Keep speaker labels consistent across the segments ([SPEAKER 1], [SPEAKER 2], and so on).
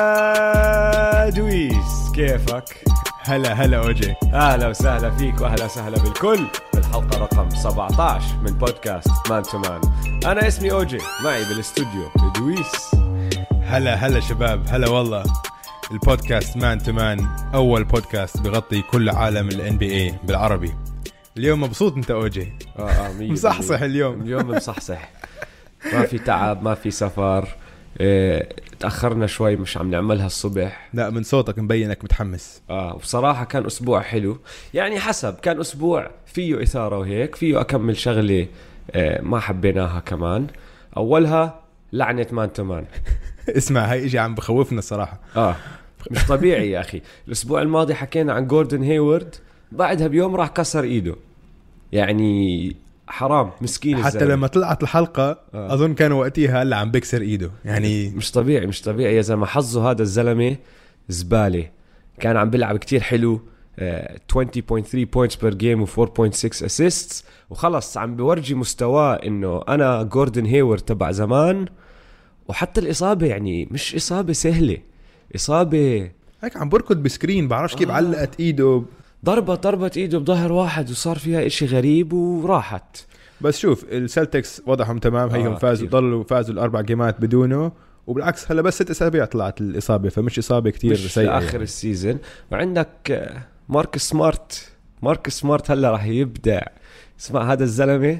[SPEAKER 1] على دويس كيفك؟ هلا هلا اوجي اهلا وسهلا فيك واهلا وسهلا بالكل بالحلقه رقم 17 من بودكاست مان تو مان انا اسمي اوجي معي بالاستوديو دويس آه،
[SPEAKER 2] هلا هلا شباب هلا والله البودكاست مان تو مان اول بودكاست بغطي كل عالم الان بي اي بالعربي اليوم مبسوط انت اوجي
[SPEAKER 1] آه، آه، مية
[SPEAKER 2] مصحصح
[SPEAKER 1] بالمية.
[SPEAKER 2] اليوم.
[SPEAKER 1] اليوم مصحصح ما في تعب ما في سفر إيه، تاخرنا شوي مش عم نعملها الصبح
[SPEAKER 2] لا من صوتك مبين انك متحمس
[SPEAKER 1] اه وبصراحة كان أسبوع حلو يعني حسب كان أسبوع فيه إثارة وهيك فيه أكمل شغلة آه، ما حبيناها كمان أولها لعنة مان تمان
[SPEAKER 2] اسمع هاي اجي عم بخوفنا الصراحه
[SPEAKER 1] آه مش طبيعي يا أخي الأسبوع الماضي حكينا عن جوردن هيورد بعدها بيوم راح كسر إيده يعني حرام مسكين
[SPEAKER 2] حتى
[SPEAKER 1] الزلمة.
[SPEAKER 2] لما طلعت الحلقه
[SPEAKER 1] آه.
[SPEAKER 2] اظن كان وقتها هلا عم بكسر ايده يعني
[SPEAKER 1] مش طبيعي مش طبيعي يا زلمه حظه هذا الزلمه زباله كان عم بيلعب كتير حلو آه، 20.3 بوينتس بير جيم و4.6 اسيستس وخلص عم بورجي مستواه انه انا جوردن هيور تبع زمان وحتى الاصابه يعني مش اصابه سهله اصابه
[SPEAKER 2] هيك عم بركض بسكرين بعرفش
[SPEAKER 1] آه.
[SPEAKER 2] كيف علقت ايده
[SPEAKER 1] ضربه ضربت ايده بظهر واحد وصار فيها اشي غريب وراحت
[SPEAKER 2] بس شوف السلتكس وضعهم تمام هيهم
[SPEAKER 1] آه،
[SPEAKER 2] فازوا
[SPEAKER 1] كتير.
[SPEAKER 2] ضلوا فازوا الاربع جيمات بدونه وبالعكس هلا بس ست اسابيع طلعت الاصابه فمش اصابه كتير يعني.
[SPEAKER 1] مش
[SPEAKER 2] سيئه
[SPEAKER 1] سيئة اخر السيزون وعندك آه، مارك سمارت مارك سمارت هلا راح يبدع اسمع هذا الزلمه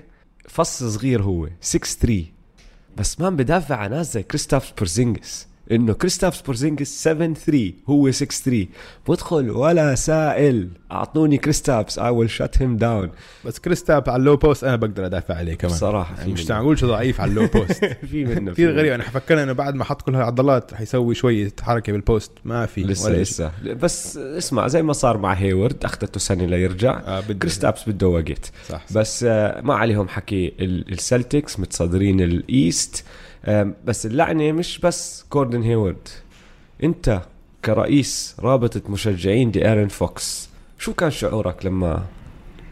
[SPEAKER 1] فص صغير هو 6 3 بس ما بدافع عن ناس زي كريستاف بورزينجس انه كريستاف بورزينجس 7 3 هو 6 3 بدخل ولا سائل اعطوني كريستافس اي ويل شات هيم داون
[SPEAKER 2] بس كريستاب على اللو بوست انا بقدر ادافع عليه كمان
[SPEAKER 1] بصراحة في
[SPEAKER 2] يعني مش
[SPEAKER 1] منه.
[SPEAKER 2] تعقولش ضعيف على اللو بوست
[SPEAKER 1] في منه
[SPEAKER 2] كثير غريب انا حفكر انه بعد ما حط كل هالعضلات رح يسوي شويه حركه بالبوست ما في
[SPEAKER 1] لسه
[SPEAKER 2] ولا
[SPEAKER 1] لسه بس اسمع زي ما صار مع هيورد اخذته سنه ليرجع
[SPEAKER 2] آه، بده.
[SPEAKER 1] كريستابس بده وقت
[SPEAKER 2] صح، صح.
[SPEAKER 1] بس آه، ما عليهم حكي ال- السلتكس متصدرين الايست آم، بس اللعنه مش بس كوردن هيورد انت كرئيس رابطه مشجعين دي ارن فوكس شو كان شعورك لما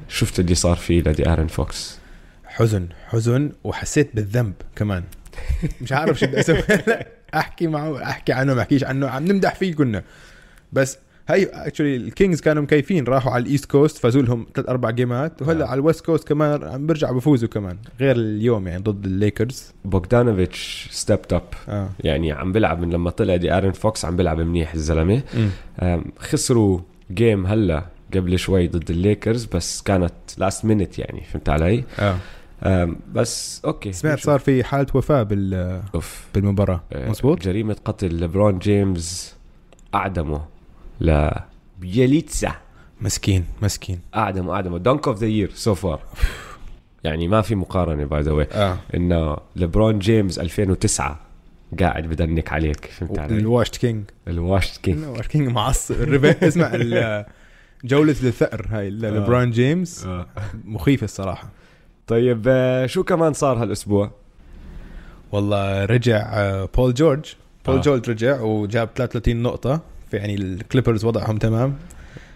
[SPEAKER 1] شفت اللي صار فيه لدي ارن فوكس
[SPEAKER 2] حزن حزن وحسيت بالذنب كمان مش عارف شو بدي اسوي هلا احكي معه احكي عنه ما احكيش عنه عم نمدح فيه كنا بس هي اكشلي الكينجز كانوا مكيفين راحوا على الايست كوست فازوا لهم ثلاث اربع جيمات
[SPEAKER 1] آه.
[SPEAKER 2] وهلا على الويست كوست كمان عم برجع بفوزوا كمان غير اليوم يعني ضد الليكرز
[SPEAKER 1] بوغدانوفيتش ستيبت اب
[SPEAKER 2] اه
[SPEAKER 1] يعني عم بلعب من لما طلع دي ارن فوكس عم بلعب منيح الزلمه أم، خسروا جيم هلا قبل شوي ضد الليكرز بس كانت لاست مينت يعني فهمت علي
[SPEAKER 2] اه
[SPEAKER 1] أم، بس اوكي
[SPEAKER 2] سمعت
[SPEAKER 1] نشوف.
[SPEAKER 2] صار في حاله وفاه بال
[SPEAKER 1] اوف
[SPEAKER 2] بالمباراه
[SPEAKER 1] أه،
[SPEAKER 2] مزبوط
[SPEAKER 1] جريمه قتل ليبرون جيمس اعدمه ل بيليتسا
[SPEAKER 2] مسكين مسكين
[SPEAKER 1] اعدمه اعدمه دونك اوف ذا يير سو فار يعني ما في مقارنه باي ذا واي
[SPEAKER 2] اه
[SPEAKER 1] انه ليبرون جيمس 2009 قاعد بدنك عليك فهمت علي؟
[SPEAKER 2] الواشت كينج
[SPEAKER 1] الواشت كينج
[SPEAKER 2] الواشت كينج معصب الريفنج اسمع ال- جولة الثأر هاي
[SPEAKER 1] آه.
[SPEAKER 2] ل- لبرون جيمس مخيفة الصراحة
[SPEAKER 1] طيب آه، شو كمان صار هالاسبوع؟
[SPEAKER 2] والله رجع آه، بول جورج بول
[SPEAKER 1] آه.
[SPEAKER 2] جورج رجع وجاب 33 نقطة في يعني الكليبرز وضعهم تمام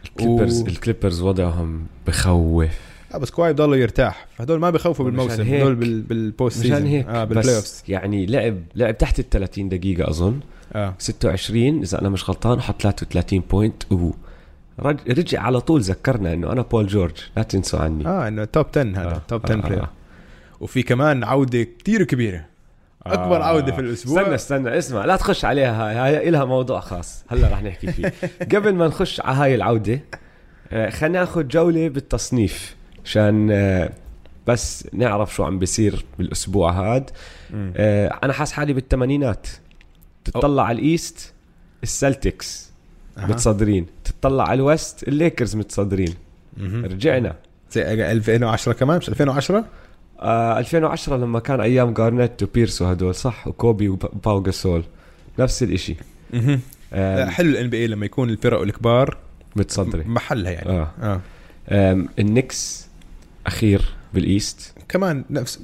[SPEAKER 1] الكليبرز
[SPEAKER 2] و-
[SPEAKER 1] الكليبرز وضعهم بخوف
[SPEAKER 2] آه بس كواي ضلوا يرتاح فهدول ما بيخوفوا
[SPEAKER 1] مشان
[SPEAKER 2] بالموسم
[SPEAKER 1] هيك.
[SPEAKER 2] هدول بال- بالبوست
[SPEAKER 1] مشان
[SPEAKER 2] سيزون
[SPEAKER 1] هيك
[SPEAKER 2] اه بالبلاي اوفز
[SPEAKER 1] بس آه، يعني لعب لعب تحت ال 30 دقيقة أظن آه.
[SPEAKER 2] اه
[SPEAKER 1] 26 إذا أنا مش غلطان حط 33 بوينت و رج- رجع على طول ذكرنا إنه أنا بول جورج لا تنسوا عني آه،
[SPEAKER 2] اه انه توب 10 هذا توب 10 بلاير وفي كمان عودة كتير كبيرة آه، اكبر عودة في الاسبوع
[SPEAKER 1] استنى استنى اسمع لا تخش عليها هاي هاي إلها موضوع خاص هلا رح نحكي فيه قبل ما نخش على هاي العودة آه، خلينا ناخذ جولة بالتصنيف عشان آه، بس نعرف شو عم بيصير بالأسبوع هاد
[SPEAKER 2] مم.
[SPEAKER 1] آه، انا حاس حالي بالثمانينات تطلع على الايست السلتكس
[SPEAKER 2] أها.
[SPEAKER 1] متصدرين تطلع على الوست الليكرز متصدرين
[SPEAKER 2] مهم.
[SPEAKER 1] رجعنا
[SPEAKER 2] زي 2010 كمان مش 2010
[SPEAKER 1] آه 2010 لما كان ايام جارنيت وبيرسو هدول صح وكوبي وباو جاسول نفس الاشي
[SPEAKER 2] لا،
[SPEAKER 1] آم،
[SPEAKER 2] آه، حلو الان بي اي لما يكون الفرق الكبار
[SPEAKER 1] متصدرة
[SPEAKER 2] محلها يعني
[SPEAKER 1] آه.
[SPEAKER 2] آه.
[SPEAKER 1] آم، النكس اخير بالايست
[SPEAKER 2] كمان نفس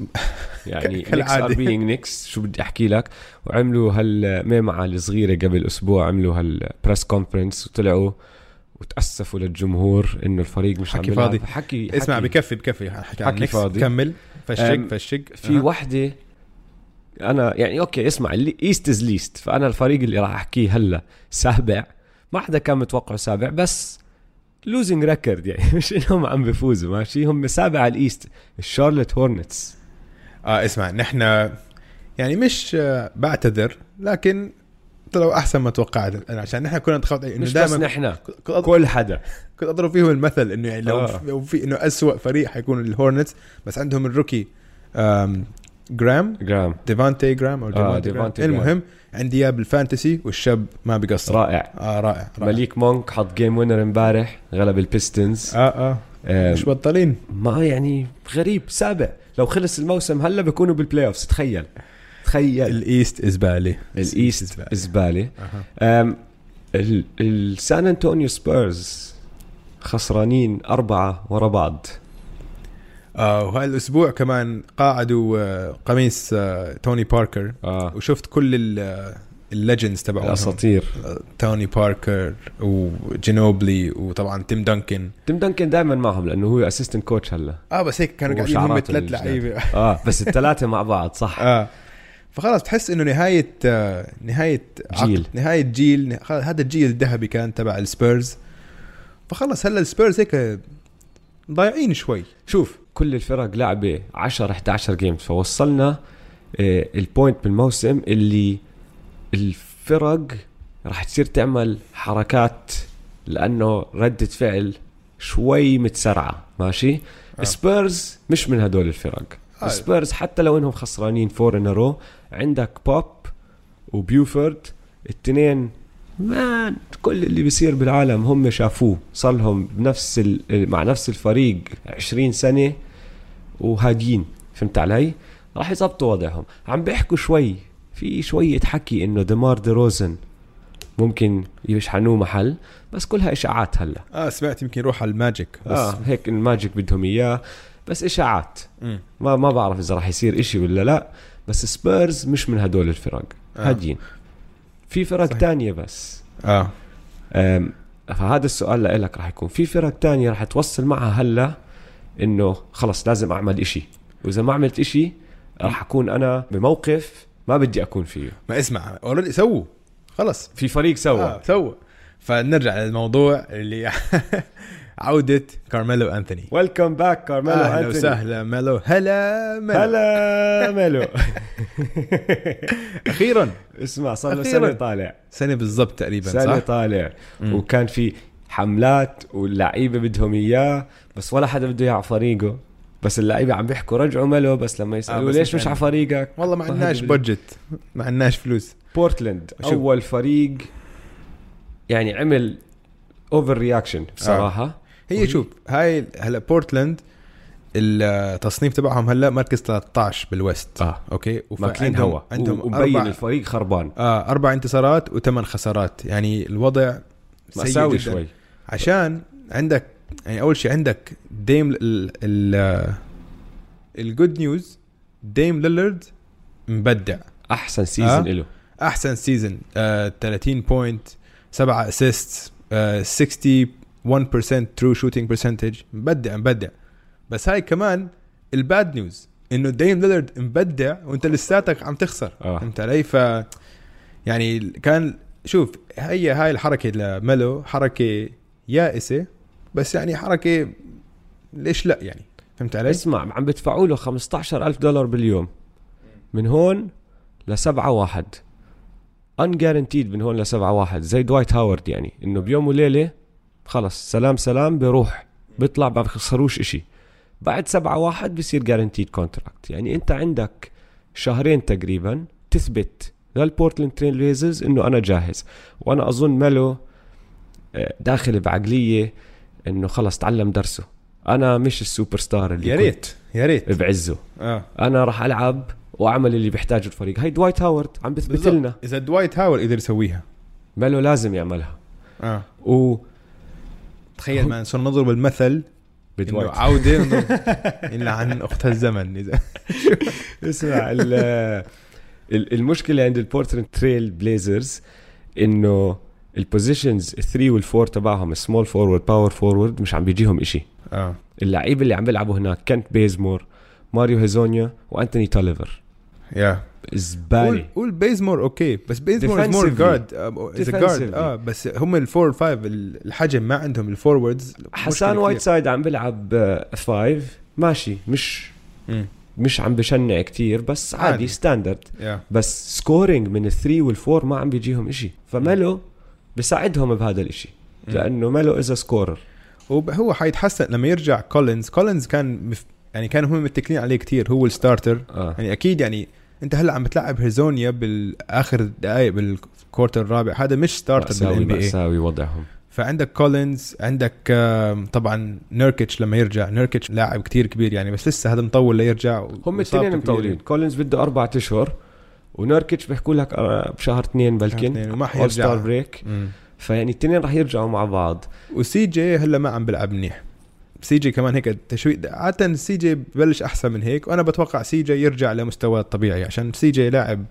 [SPEAKER 1] يعني نكس
[SPEAKER 2] ك-
[SPEAKER 1] ار
[SPEAKER 2] كالعادة.
[SPEAKER 1] بينج نكس شو بدي احكي لك وعملوا هالميمعة الصغيرة قبل اسبوع عملوا هالبريس كونفرنس وطلعوا وتاسفوا للجمهور انه الفريق مش عم
[SPEAKER 2] حكي
[SPEAKER 1] يلعب.
[SPEAKER 2] فاضي.
[SPEAKER 1] حكي
[SPEAKER 2] اسمع
[SPEAKER 1] حكي.
[SPEAKER 2] بكفي بكفي حكي عن
[SPEAKER 1] حكي
[SPEAKER 2] نكس.
[SPEAKER 1] فاضي.
[SPEAKER 2] كمل فشق
[SPEAKER 1] أم،
[SPEAKER 2] فشق
[SPEAKER 1] في
[SPEAKER 2] آه.
[SPEAKER 1] وحده انا يعني اوكي اسمع اللي ايست از ليست فانا الفريق اللي راح احكيه هلا سابع ما حدا كان متوقعه سابع بس لوزنج ريكورد يعني مش انهم عم بفوزوا ماشي هم سابع على الايست الشارلت هورنتس
[SPEAKER 2] اه اسمع نحن يعني مش آه، بعتذر لكن طلعوا احسن ما توقعت انا عشان نحن كنا نتخوض انه
[SPEAKER 1] مش بس
[SPEAKER 2] دائما
[SPEAKER 1] نحن
[SPEAKER 2] كنت أض-
[SPEAKER 1] كل حدا
[SPEAKER 2] كنت اضرب فيهم المثل انه يعني لو
[SPEAKER 1] آه.
[SPEAKER 2] آه. لو في انه اسوء فريق حيكون الهورنتس بس عندهم الروكي آم، جرام
[SPEAKER 1] جرام
[SPEAKER 2] ديفانتي جرام او
[SPEAKER 1] آه،
[SPEAKER 2] ديفانتي جرام
[SPEAKER 1] ديفانتي جرام.
[SPEAKER 2] المهم عندي اياه بالفانتسي والشاب ما بقصر
[SPEAKER 1] رائع
[SPEAKER 2] اه رائع, رائع.
[SPEAKER 1] مليك مونك حط جيم وينر امبارح غلب البيستنز
[SPEAKER 2] اه اه
[SPEAKER 1] آه،
[SPEAKER 2] مش بطلين
[SPEAKER 1] ما يعني غريب سابع لو خلص الموسم هلا بيكونوا بالبلاي اوفز تخيل تخيل
[SPEAKER 2] الايست ازبالي
[SPEAKER 1] الايست زباله
[SPEAKER 2] أها.
[SPEAKER 1] أم، ال- السان انطونيو سبيرز خسرانين أربعة ورا بعض
[SPEAKER 2] آه وهالاسبوع كمان قاعدوا آه، قميص آه، توني باركر
[SPEAKER 1] اه
[SPEAKER 2] وشفت كل الليجندز تبعهم
[SPEAKER 1] الأساطير
[SPEAKER 2] آه، توني باركر وجينوبلي وطبعا تيم دانكن
[SPEAKER 1] تيم دانكن دائما معهم لأنه هو أسيستنت كوتش هلا
[SPEAKER 2] اه بس هيك كانوا قاعدين هم
[SPEAKER 1] وشعراته
[SPEAKER 2] ثلاث
[SPEAKER 1] الجداد.
[SPEAKER 2] لعيبه
[SPEAKER 1] اه بس الثلاثة مع بعض صح
[SPEAKER 2] اه فخلاص تحس انه نهايه آه، نهايه عقد-
[SPEAKER 1] جيل.
[SPEAKER 2] نهايه جيل نه- خلاص هذا الجيل الذهبي كان تبع السبيرز فخلص هلا السبيرز هيك آه، ضايعين شوي
[SPEAKER 1] شوف كل الفرق لعبة 10 11 جيمز فوصلنا آه، البوينت بالموسم اللي الفرق راح تصير تعمل حركات لأنه ردة فعل شوي متسرعة ماشي
[SPEAKER 2] آه.
[SPEAKER 1] سبيرز مش من هدول الفرق
[SPEAKER 2] آه.
[SPEAKER 1] سبيرز حتى لو انهم خسرانين فور ان رو عندك بوب وبيوفورد التنين مان كل اللي بيصير بالعالم هم شافوه صار لهم بنفس ال... مع نفس الفريق 20 سنه وهاديين فهمت علي؟ راح يظبطوا وضعهم عم بيحكوا شوي في شويه حكي انه دمار دي روزن ممكن يشحنوه محل بس كلها اشاعات هلا
[SPEAKER 2] اه سمعت يمكن يروح على الماجيك بس
[SPEAKER 1] اه هيك الماجيك بدهم اياه بس اشاعات
[SPEAKER 2] مم.
[SPEAKER 1] ما ما بعرف اذا راح يصير إشي ولا لا بس سبيرز مش من هدول الفرق
[SPEAKER 2] آه.
[SPEAKER 1] هادين في فرق
[SPEAKER 2] صحيح.
[SPEAKER 1] تانية بس
[SPEAKER 2] اه
[SPEAKER 1] أم، فهذا السؤال لإلك راح يكون في فرق تانية راح توصل معها هلا انه خلص لازم اعمل إشي واذا ما عملت إشي راح اكون انا بموقف ما بدي اكون فيه
[SPEAKER 2] ما اسمع اوريدي سووا خلص
[SPEAKER 1] في فريق سوى
[SPEAKER 2] آه، سووا فنرجع للموضوع اللي عودة كارميلو انثوني
[SPEAKER 1] ويلكم باك كارميلو
[SPEAKER 2] اهلا
[SPEAKER 1] أنتوني.
[SPEAKER 2] وسهلا ميلو هلا ميلو
[SPEAKER 1] هلا ميلو
[SPEAKER 2] اخيرا
[SPEAKER 1] اسمع صار له
[SPEAKER 2] أخيراً.
[SPEAKER 1] سنه طالع
[SPEAKER 2] سنة بالضبط تقريبا
[SPEAKER 1] سنه
[SPEAKER 2] صح؟
[SPEAKER 1] طالع
[SPEAKER 2] مم.
[SPEAKER 1] وكان في حملات واللعيبه بدهم اياه بس ولا حدا بده اياه على فريقه بس اللعيبه عم بيحكوا رجعوا ملو بس لما يسالوه
[SPEAKER 2] آه، بس يعني
[SPEAKER 1] ليش
[SPEAKER 2] مش
[SPEAKER 1] مش على فريقك
[SPEAKER 2] والله ما
[SPEAKER 1] ما
[SPEAKER 2] عندناش
[SPEAKER 1] حدا بده-
[SPEAKER 2] بادجت ما عندناش فلوس
[SPEAKER 1] بورتلاند
[SPEAKER 2] شوف.
[SPEAKER 1] اول فريق يعني عمل اوفر رياكشن بصراحه
[SPEAKER 2] هي
[SPEAKER 1] وهي-
[SPEAKER 2] شوف هاي هلا بورتلاند التصنيف تبعهم هلا مركز 13 بالوست
[SPEAKER 1] اه
[SPEAKER 2] اوكي
[SPEAKER 1] ماكلين
[SPEAKER 2] عندهم-
[SPEAKER 1] هوا
[SPEAKER 2] عندهم
[SPEAKER 1] ومبين
[SPEAKER 2] أربع-
[SPEAKER 1] الفريق خربان
[SPEAKER 2] آه اربع انتصارات وثمان خسارات يعني الوضع سيء
[SPEAKER 1] مأساوي
[SPEAKER 2] جداً.
[SPEAKER 1] شوي
[SPEAKER 2] عشان عندك يعني اول شيء عندك ديم ال ال الجود نيوز ديم ليلرد مبدع
[SPEAKER 1] احسن سيزون
[SPEAKER 2] آه.
[SPEAKER 1] له
[SPEAKER 2] احسن سيزون آه 30 بوينت 7 اسيست آه 61% ترو شوتينج برسنتج مبدع مبدع بس هاي كمان الباد نيوز انه ديم ليلرد مبدع وانت لساتك عم تخسر
[SPEAKER 1] آه.
[SPEAKER 2] فهمت علي ف يعني كان شوف هي هاي الحركه لميلو حركه يائسه بس يعني حركه ليش لا يعني فهمت علي؟
[SPEAKER 1] اسمع عم بدفعوا له 15000 دولار باليوم من هون لسبعة واحد انجارنتيد من هون لسبعة واحد زي دوايت هاورد يعني انه بيوم وليلة خلص سلام سلام بيروح بيطلع ما بخسروش اشي بعد سبعة واحد بصير جارنتيد كونتراكت يعني انت عندك شهرين تقريبا تثبت للبورتلاند ترين بليزرز انه انا جاهز وانا اظن ملو آه، داخل بعقلية انه خلص تعلم درسه انا مش السوبر ستار اللي
[SPEAKER 2] يا ريت يا ريت
[SPEAKER 1] كنت بعزه
[SPEAKER 2] اه
[SPEAKER 1] انا راح العب واعمل اللي بيحتاجه الفريق هاي دوايت هاورد عم بيثبت
[SPEAKER 2] بالضبط.
[SPEAKER 1] لنا
[SPEAKER 2] اذا دوايت هاور قدر يسويها
[SPEAKER 1] ماله لازم يعملها
[SPEAKER 2] اه
[SPEAKER 1] و
[SPEAKER 2] تخيل ما صرنا نضرب المثل انه
[SPEAKER 1] بدوايت
[SPEAKER 2] عوده نضرب- الا عن اختها الزمن اذا
[SPEAKER 1] اسمع ال- ال- المشكله عند البورتلاند تريل بليزرز انه البوزيشنز 3 والفور تبعهم السمول فورورد باور فورورد مش عم بيجيهم إشي
[SPEAKER 2] اه
[SPEAKER 1] اللعيبه اللي عم بيلعبوا هناك كنت بيزمور ماريو هيزونيا وانتوني توليفر
[SPEAKER 2] يا
[SPEAKER 1] زباله
[SPEAKER 2] قول قول بيزمور اوكي بس بيزمور از مور
[SPEAKER 1] Defensively.
[SPEAKER 2] جارد از جارد
[SPEAKER 1] Defensively.
[SPEAKER 2] اه بس هم الفور والفايف الحجم ما عندهم الفوروردز
[SPEAKER 1] حسان وايت سايد عم بيلعب آه، فايف ماشي مش مش عم بشنع كتير بس عادي,
[SPEAKER 2] عادي.
[SPEAKER 1] عادي. ستاندرد
[SPEAKER 2] يا
[SPEAKER 1] بس سكورينج من الثري والفور ما عم بيجيهم إشي فميلو بيساعدهم بهذا الإشي
[SPEAKER 2] مم.
[SPEAKER 1] لأنه ميلو إذا سكورر
[SPEAKER 2] هو حيتحسن لما يرجع كولينز كولينز كان مف... يعني كانوا هم متكلين عليه كتير هو الستارتر
[SPEAKER 1] آه.
[SPEAKER 2] يعني اكيد يعني انت هلا عم بتلعب هيرزونيا بالاخر دقائق بالكورتر الرابع هذا مش ستارتر
[SPEAKER 1] مأساوي
[SPEAKER 2] بالان بي
[SPEAKER 1] مأساوي وضعهم
[SPEAKER 2] فعندك كولينز عندك آم، طبعا نيركيتش لما يرجع نيركيتش لاعب كتير كبير يعني بس لسه هذا مطول ليرجع و-
[SPEAKER 1] هم
[SPEAKER 2] وإصابته
[SPEAKER 1] الاثنين
[SPEAKER 2] كبيرة.
[SPEAKER 1] مطولين كولينز بده أربعة أشهر ونيركيتش بيحكوا لك آه، بشهر اثنين
[SPEAKER 2] اثنين
[SPEAKER 1] بلكن
[SPEAKER 2] وما
[SPEAKER 1] أول
[SPEAKER 2] حيرجع.
[SPEAKER 1] ستار بريك
[SPEAKER 2] مم.
[SPEAKER 1] فيعني الاثنين رح يرجعوا مع بعض
[SPEAKER 2] وسي جي هلا ما عم بلعب منيح سي جي كمان هيك تشوي عاده سي جي ببلش احسن من هيك وانا بتوقع سي جي يرجع لمستواه الطبيعي عشان سي جي لاعب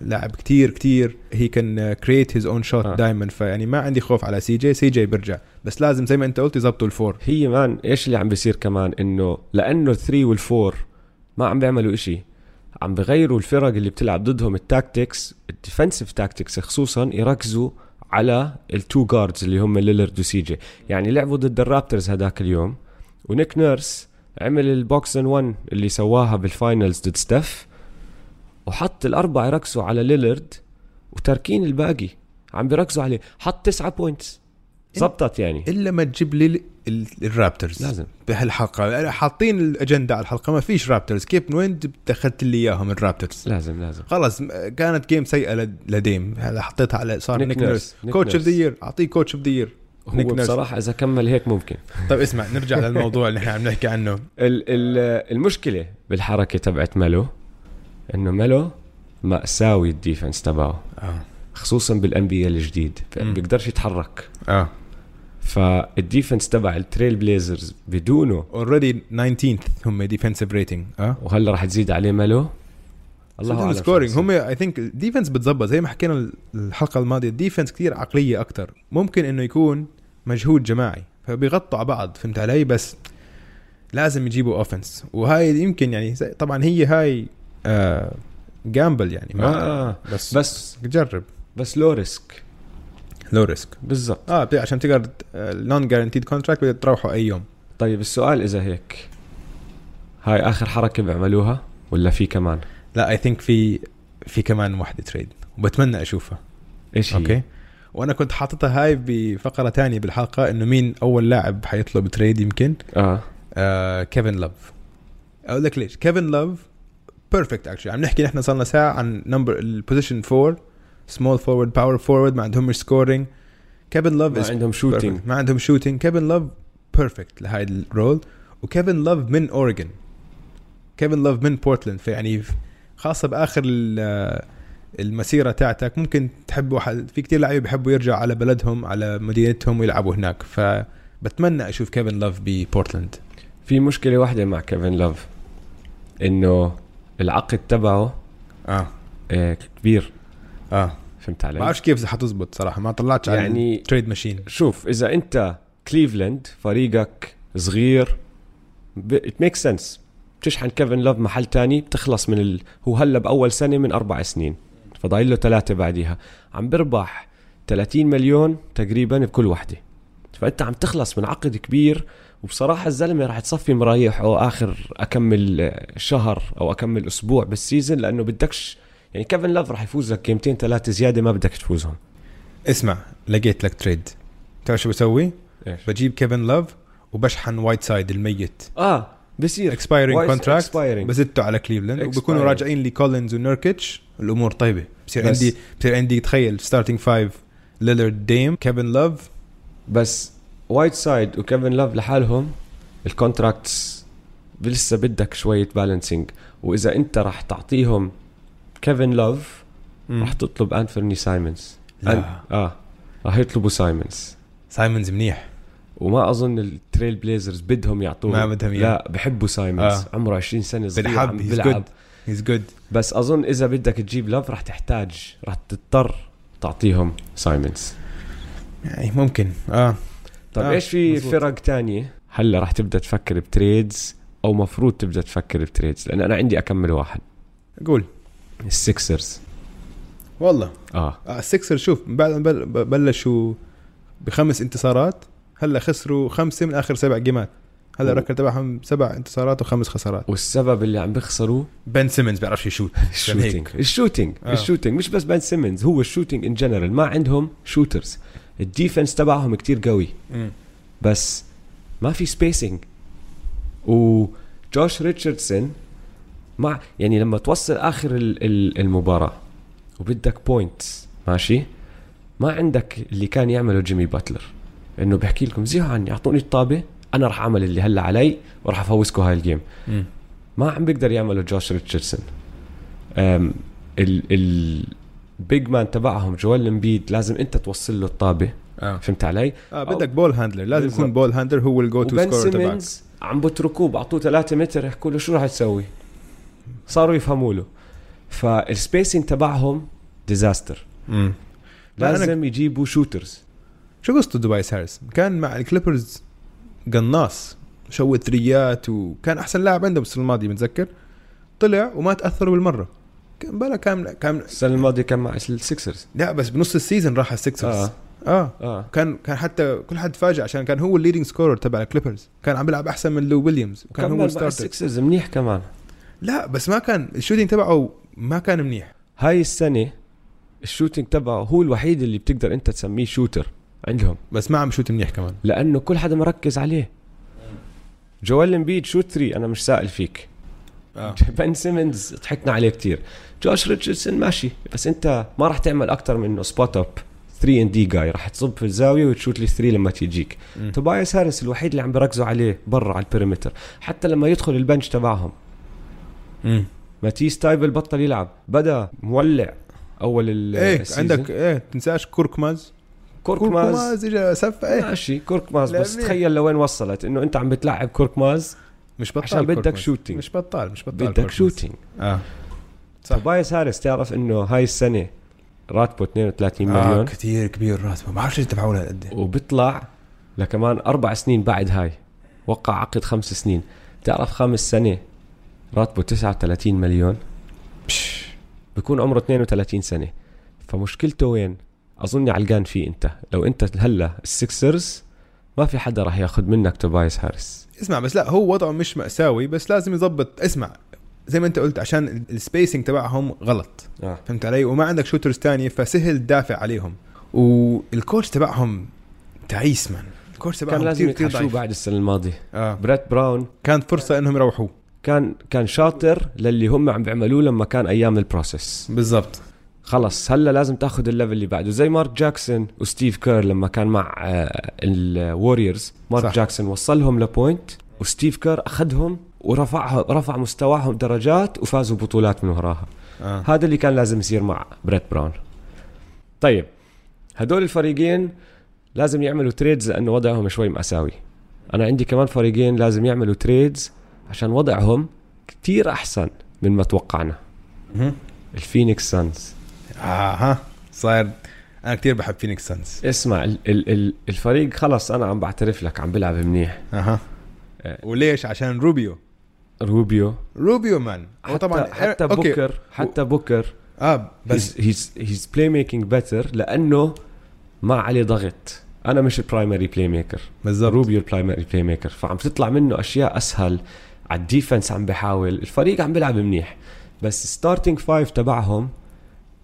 [SPEAKER 2] لاعب كتير كتير هي كان كريت هيز اون شوت
[SPEAKER 1] آه.
[SPEAKER 2] دائما فيعني ما عندي خوف على سي جي سي جي بيرجع بس لازم زي ما انت قلت يظبطوا الفور
[SPEAKER 1] هي مان ايش اللي عم بيصير كمان انه لانه 3 والفور ما عم بيعملوا إشي عم بغيروا الفرق اللي بتلعب ضدهم التاكتكس الديفنسيف تاكتكس خصوصا يركزوا على التو جاردز اللي هم ليلرد وسي جي يعني لعبوا ضد الرابترز هداك اليوم ونيك نيرس عمل البوكس ان 1 اللي سواها بالفاينلز ضد ستيف وحط الاربعه يركزوا على ليلرد وتاركين الباقي عم بيركزوا عليه حط 9 بوينتس زبطت يعني
[SPEAKER 2] الا ما تجيب لي ال- ال- الرابترز
[SPEAKER 1] لازم
[SPEAKER 2] بهالحلقه حاطين الاجنده على الحلقه ما فيش رابترز كيف من وين دخلت لي اياهم الرابترز
[SPEAKER 1] لازم لازم
[SPEAKER 2] خلص م- كانت جيم سيئه لد- لديم هلا حطيتها على صار
[SPEAKER 1] نيك
[SPEAKER 2] نيك
[SPEAKER 1] نيرس.
[SPEAKER 2] نيرس
[SPEAKER 1] نيك
[SPEAKER 2] كوتش اوف
[SPEAKER 1] نيرس.
[SPEAKER 2] ذا يير اعطيه كوتش اوف ذا يير
[SPEAKER 1] هو
[SPEAKER 2] نيك نيرس.
[SPEAKER 1] بصراحة إذا كمل هيك ممكن
[SPEAKER 2] طيب اسمع نرجع للموضوع اللي احنا عم نحكي عنه
[SPEAKER 1] ال- ال- المشكلة بالحركة تبعت ملو إنه ملو مأساوي الديفنس تبعه
[SPEAKER 2] اه
[SPEAKER 1] خصوصا بالان بي الجديد
[SPEAKER 2] مم.
[SPEAKER 1] بيقدرش يتحرك
[SPEAKER 2] اه
[SPEAKER 1] فالديفنس تبع التريل بليزرز بدونه
[SPEAKER 2] اوريدي 19th هم ديفنسيف ريتنج اه
[SPEAKER 1] وهلا رح تزيد عليه ملو الله
[SPEAKER 2] الله
[SPEAKER 1] اعلم
[SPEAKER 2] سكورينج
[SPEAKER 1] شو رح
[SPEAKER 2] هم اي ثينك الديفنس بتظبط زي ما حكينا ال- الحلقه الماضيه الديفنس كثير عقليه اكثر ممكن انه يكون مجهود جماعي فبيغطوا على بعض فهمت علي بس لازم يجيبوا اوفنس وهاي يمكن يعني زي- طبعا هي هاي آه جامبل يعني
[SPEAKER 1] يصير.
[SPEAKER 2] ما
[SPEAKER 1] آه. آه.
[SPEAKER 2] بس
[SPEAKER 1] بس
[SPEAKER 2] جرب
[SPEAKER 1] بس لو ريسك
[SPEAKER 2] لو ريسك
[SPEAKER 1] بالضبط
[SPEAKER 2] اه بت- عشان تقدر نون جارانتيد كونتراكت بدك تروحوا اي يوم
[SPEAKER 1] طيب السؤال اذا هيك هاي اخر حركه بيعملوها ولا في كمان
[SPEAKER 2] لا اي ثينك في في كمان وحده تريد وبتمنى اشوفها
[SPEAKER 1] ايش هي
[SPEAKER 2] اوكي وانا كنت حاططها هاي بفقره تانية بالحلقه انه مين اول لاعب حيطلب تريد يمكن
[SPEAKER 1] اه
[SPEAKER 2] آه كيفن لوف اقول لك ليش كيفن لوف بيرفكت اكشلي عم نحكي نحن صلنا ساعه عن نمبر البوزيشن 4 سمول فورورد باور فورورد ما عندهمش سكورينج كيفن لوف
[SPEAKER 1] ما
[SPEAKER 2] از
[SPEAKER 1] عندهم شوتينج
[SPEAKER 2] ما عندهم شوتينج كيفن لوف بيرفكت لهاي الرول وكيفن لوف من اوريجن كيفن لوف من بورتلاند فيعني خاصه باخر ال- المسيره تاعتك ممكن تحب واحد في كتير لعيبه بيحبوا يرجعوا على بلدهم على مدينتهم ويلعبوا هناك فبتمنى اشوف كيفن لوف ببورتلاند
[SPEAKER 1] في مشكلة واحدة مع كيفن لوف انه العقد تبعه
[SPEAKER 2] اه
[SPEAKER 1] آه، كبير
[SPEAKER 2] اه
[SPEAKER 1] فهمت
[SPEAKER 2] ما
[SPEAKER 1] علي؟
[SPEAKER 2] بعرفش كيف حتزبط صراحه ما طلعتش يعني
[SPEAKER 1] يعني
[SPEAKER 2] تريد ماشين
[SPEAKER 1] شوف اذا انت كليفلاند فريقك صغير ات ميك سنس بتشحن كيفن لوف محل تاني بتخلص من ال... هو هلا باول سنة من اربع سنين فضايل له ثلاثة بعديها عم بربح 30 مليون تقريبا بكل وحدة فانت عم تخلص من عقد كبير وبصراحة الزلمة راح تصفي مرايحه اخر اكمل آه، شهر او اكمل اسبوع بالسيزن لانه بدكش يعني كيفن لوف راح يفوز لك جيمتين ثلاثة زيادة ما بدك تفوزهم
[SPEAKER 2] اسمع لقيت لك تريد تعرف شو بسوي؟
[SPEAKER 1] ايش؟
[SPEAKER 2] بجيب كيفن لوف وبشحن وايت سايد الميت
[SPEAKER 1] اه بصير
[SPEAKER 2] اكسبايرنج
[SPEAKER 1] Wise
[SPEAKER 2] كونتراكت
[SPEAKER 1] expiring.
[SPEAKER 2] بزته على كليفلاند
[SPEAKER 1] Expiring.
[SPEAKER 2] وبكونوا راجعين لكولينز ونيركيتش الامور طيبه بصير
[SPEAKER 1] بس.
[SPEAKER 2] عندي بصير عندي تخيل ستارتنج فايف ليلرد ديم كيفن لوف
[SPEAKER 1] بس وايت سايد وكيفن لاف لحالهم الكونتراكتس لسه بدك شوية بالانسنج وإذا أنت راح تعطيهم كيفن لاف راح تطلب أنثوني سايمونز
[SPEAKER 2] لا
[SPEAKER 1] أن- آه راح يطلبوا سايمونز
[SPEAKER 2] سايمونز منيح
[SPEAKER 1] وما أظن التريل بليزرز بدهم يعطوه
[SPEAKER 2] ما بدهم إياه.
[SPEAKER 1] لا بحبوا سايمونز
[SPEAKER 2] آه.
[SPEAKER 1] آه. عمره 20 سنة صغير
[SPEAKER 2] بالحب،
[SPEAKER 1] عم
[SPEAKER 2] he's
[SPEAKER 1] بيلعب
[SPEAKER 2] good. هيز جود
[SPEAKER 1] بس أظن إذا بدك تجيب لاف راح تحتاج راح تضطر تعطيهم سايمونز
[SPEAKER 2] يعني ممكن اه
[SPEAKER 1] طيب
[SPEAKER 2] آه،
[SPEAKER 1] آه ايش في
[SPEAKER 2] مزبوط.
[SPEAKER 1] فرق تانية هلا رح تبدا تفكر بتريدز او مفروض تبدا تفكر بتريدز لان انا عندي اكمل واحد
[SPEAKER 2] قول
[SPEAKER 1] السكسرز
[SPEAKER 2] والله
[SPEAKER 1] اه
[SPEAKER 2] آه، السكسر شوف بعد ما بل- ب- بلشوا بخمس انتصارات هلا خسروا خمسه من اخر سبع جيمات هلا
[SPEAKER 1] أوه.
[SPEAKER 2] الركر تبعهم سبع انتصارات وخمس خسارات
[SPEAKER 1] والسبب اللي عم بيخسروه
[SPEAKER 2] بن سيمنز بيعرفش يشوت عشان هيك.
[SPEAKER 1] الشوتينج الشوتينج
[SPEAKER 2] آه.
[SPEAKER 1] آه. الشوتينج مش بس بن سيمنز هو الشوتينج ان جنرال ما عندهم شوترز الديفنس تبعهم كتير قوي
[SPEAKER 2] مم.
[SPEAKER 1] بس ما في سبيسنج وجوش ريتشاردسون مع يعني لما توصل اخر ال- ال- المباراه وبدك بوينتس ماشي ما عندك اللي كان يعمله جيمي باتلر انه بحكي لكم زيها عني اعطوني الطابه انا راح اعمل اللي هلا علي وراح افوزكم هاي الجيم
[SPEAKER 2] مم.
[SPEAKER 1] ما عم بيقدر يعمله جوش ريتشاردسون أم، ال ال بيج مان تبعهم جوال امبيد لازم انت توصل له الطابه
[SPEAKER 2] اه
[SPEAKER 1] فهمت علي؟
[SPEAKER 2] آه، بدك بول هاندلر لازم
[SPEAKER 1] بالضبط.
[SPEAKER 2] يكون بول هاندلر هو الجو تو
[SPEAKER 1] وبن
[SPEAKER 2] سكور تبعك
[SPEAKER 1] سيمنز عم بتركوه بعطوه 3 متر يحكوا له شو راح تسوي؟ صاروا يفهموا له فالسبيسنج تبعهم ديزاستر
[SPEAKER 2] مم. لا، أنا-
[SPEAKER 1] لازم يجيبوا شوترز
[SPEAKER 2] شو قصته دبايس هاريس كان مع الكليبرز قناص شوت ثريات وكان احسن لاعب عندهم السنه الماضيه بتذكر طلع وما تاثروا بالمره كان بلا كامل كامل
[SPEAKER 1] السنه الماضيه كان مع السكسرز
[SPEAKER 2] لا بس بنص السيزون راح على السكسرز
[SPEAKER 1] آه.
[SPEAKER 2] اه, آه.
[SPEAKER 1] اه
[SPEAKER 2] كان كان حتى كل حد تفاجئ عشان كان هو الليدنج سكورر تبع الكليبرز كان عم بيلعب احسن من لو ويليامز وكان هو
[SPEAKER 1] كمل مع
[SPEAKER 2] الستارتر
[SPEAKER 1] السكسرز منيح كمان
[SPEAKER 2] لا بس ما كان الشوتينج تبعه ما كان منيح
[SPEAKER 1] هاي السنه الشوتينج تبعه هو الوحيد اللي بتقدر انت تسميه شوتر عندهم
[SPEAKER 2] بس ما عم شوت منيح كمان
[SPEAKER 1] لانه كل حدا مركز عليه جوال امبيد شو تري انا مش سائل فيك
[SPEAKER 2] آه.
[SPEAKER 1] بن سيمنز ضحكنا عليه كتير جوش ريتشاردسون ماشي بس انت ما راح تعمل اكتر من انه سبوت اب 3 ان دي جاي راح تصب في الزاويه وتشوت لي 3 لما تيجيك
[SPEAKER 2] مم.
[SPEAKER 1] توبايس هاريس الوحيد اللي عم بركزوا عليه برا على البريمتر حتى لما يدخل البنش تبعهم
[SPEAKER 2] إيه،
[SPEAKER 1] ماتيس تايبل بطل يلعب بدا مولع اول ال
[SPEAKER 2] ايه
[SPEAKER 1] السيزن.
[SPEAKER 2] عندك ايه تنساش كوركماز
[SPEAKER 1] كوركماز
[SPEAKER 2] كوركماز اجى سف ايه
[SPEAKER 1] ماشي كوركماز بس
[SPEAKER 2] لعبني.
[SPEAKER 1] تخيل لوين وصلت انه انت عم بتلعب كوركماز
[SPEAKER 2] مش بطال
[SPEAKER 1] عشان بدك
[SPEAKER 2] كوركماز.
[SPEAKER 1] شوتينج.
[SPEAKER 2] مش بطال مش بطال
[SPEAKER 1] بدك
[SPEAKER 2] كوركماز.
[SPEAKER 1] شوتينج
[SPEAKER 2] اه صح.
[SPEAKER 1] توبايس هاريس تعرف انه هاي السنه راتبه 32 مليون
[SPEAKER 2] آه كثير كبير راتبه ما بعرف ليش دفعوا له قد إيه.
[SPEAKER 1] وبيطلع لكمان اربع سنين بعد هاي وقع عقد خمس سنين تعرف خامس سنه راتبه 39 مليون بكون عمره 32 سنه فمشكلته وين اظن علقان فيه انت لو انت هلا السكسرز ما في حدا راح ياخذ منك توبايس هاريس
[SPEAKER 2] اسمع بس لا هو وضعه مش مأساوي بس لازم يظبط اسمع زي ما انت قلت عشان السبيسنج تبعهم غلط
[SPEAKER 1] آه.
[SPEAKER 2] فهمت علي وما عندك شوترز تانية فسهل تدافع عليهم والكوتش تبعهم تعيس من الكوتش تبعهم
[SPEAKER 1] كان لازم
[SPEAKER 2] كتير- كتير
[SPEAKER 1] يتحشوه
[SPEAKER 2] ضعيف.
[SPEAKER 1] بعد السنه الماضيه
[SPEAKER 2] آه.
[SPEAKER 1] بريت براون
[SPEAKER 2] كان فرصه انهم يروحوه
[SPEAKER 1] كان كان شاطر للي هم عم بيعملوه لما كان ايام البروسيس
[SPEAKER 2] بالضبط
[SPEAKER 1] خلص هلا لازم تاخذ الليفل اللي بعده زي مارك جاكسون وستيف كير لما كان مع الوريورز مارك
[SPEAKER 2] صح.
[SPEAKER 1] صح. جاكسون وصلهم لبوينت وستيف كير اخذهم ورفعها رفع مستواهم درجات وفازوا بطولات من وراها
[SPEAKER 2] آه.
[SPEAKER 1] هذا اللي كان لازم يصير مع بريت براون طيب هدول الفريقين لازم يعملوا تريدز لانه وضعهم شوي مأساوي انا عندي كمان فريقين لازم يعملوا تريدز عشان وضعهم كتير احسن من ما توقعنا
[SPEAKER 2] مهم.
[SPEAKER 1] الفينيكس سانز
[SPEAKER 2] اها آه، صاير انا كثير بحب فينيكس سانز
[SPEAKER 1] اسمع ال ال ال الفريق خلص انا عم بعترف لك عم بلعب منيح
[SPEAKER 2] اها آه، وليش عشان روبيو
[SPEAKER 1] روبيو
[SPEAKER 2] روبيو مان هو
[SPEAKER 1] حتى طبعا حتى
[SPEAKER 2] إيه، أوكي.
[SPEAKER 1] بوكر حتى بوكر
[SPEAKER 2] اه بس
[SPEAKER 1] بس هيز هيز بلاي ميكينج بيتر لانه ما عليه ضغط انا مش البرايمري بلاي ميكر
[SPEAKER 2] بالضبط
[SPEAKER 1] روبيو البرايمري بلاي ميكر فعم تطلع منه اشياء اسهل على الديفنس عم بحاول الفريق عم بيلعب منيح بس ستارتنج فايف تبعهم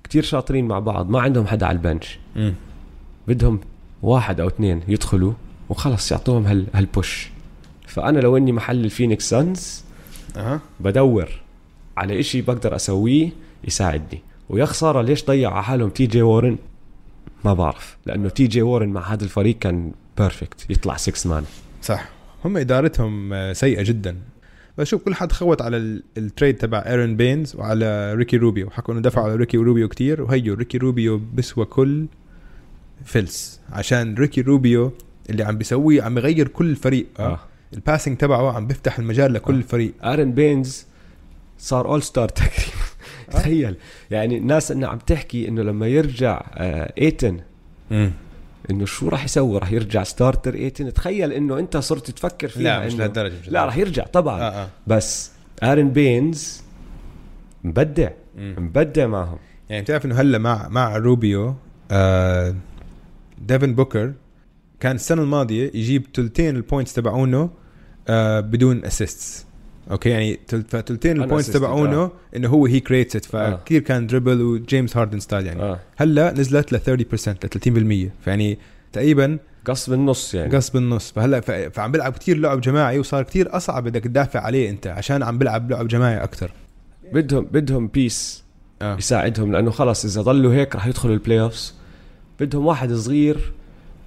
[SPEAKER 1] كتير شاطرين مع بعض ما عندهم حدا على البنش
[SPEAKER 2] مم.
[SPEAKER 1] بدهم واحد او اثنين يدخلوا وخلص يعطوهم هال هالبوش فانا لو اني محل الفينيكس سانز
[SPEAKER 2] اها
[SPEAKER 1] بدور على إشي بقدر اسويه يساعدني ويا خساره ليش ضيع على حالهم تي جي وورن ما بعرف لانه تي جي وورن مع هذا الفريق كان بيرفكت يطلع 6 مان
[SPEAKER 2] صح هم ادارتهم آه، سيئه جدا بس شوف كل حد خوت على ال- التريد تبع ايرون بينز وعلى ريكي روبيو حكوا انه دفعوا على ريكي روبيو كتير وهيو ريكي روبيو بسوى كل فلس عشان ريكي روبيو اللي عم بيسويه عم بغير كل الفريق
[SPEAKER 1] آه.
[SPEAKER 2] الباسنج تبعه عم بيفتح المجال لكل
[SPEAKER 1] آه.
[SPEAKER 2] الفريق
[SPEAKER 1] ارن بينز صار اول ستار تقريبا
[SPEAKER 2] آه.
[SPEAKER 1] تخيل يعني الناس انه عم تحكي انه لما يرجع آه ايتن انه شو راح يسوي راح يرجع ستارتر 18 تخيل انه انت صرت تفكر فيها
[SPEAKER 2] لا مش آه،
[SPEAKER 1] إنه-
[SPEAKER 2] لهالدرجه مش
[SPEAKER 1] لا راح يرجع طبعا
[SPEAKER 2] آه، آه.
[SPEAKER 1] بس ارن بينز مبدع
[SPEAKER 2] مم.
[SPEAKER 1] مبدع معهم
[SPEAKER 2] يعني بتعرف انه هلا مع مع روبيو آه ديفن بوكر كان السنه الماضيه يجيب ثلثين البوينتس تبعونه آه بدون اسيستس اوكي يعني تل- فثلثين البوينتس
[SPEAKER 1] unassisted،
[SPEAKER 2] تبعونه
[SPEAKER 1] آه.
[SPEAKER 2] انه هو هي كريتس
[SPEAKER 1] آه.
[SPEAKER 2] فكثير كان دربل وجيمس هاردن ستايل يعني
[SPEAKER 1] اه
[SPEAKER 2] هلا نزلت ل 30% ل 30% فيعني تقريبا
[SPEAKER 1] قص بالنص يعني
[SPEAKER 2] قص بالنص فهلا ف- فعم بيلعب كثير لعب جماعي وصار كثير اصعب بدك تدافع عليه انت عشان عم بيلعب لعب جماعي اكثر
[SPEAKER 1] بدهم بدهم بيس
[SPEAKER 2] آه.
[SPEAKER 1] يساعدهم لانه خلص اذا ضلوا هيك رح يدخلوا البلاي اوفز بدهم واحد صغير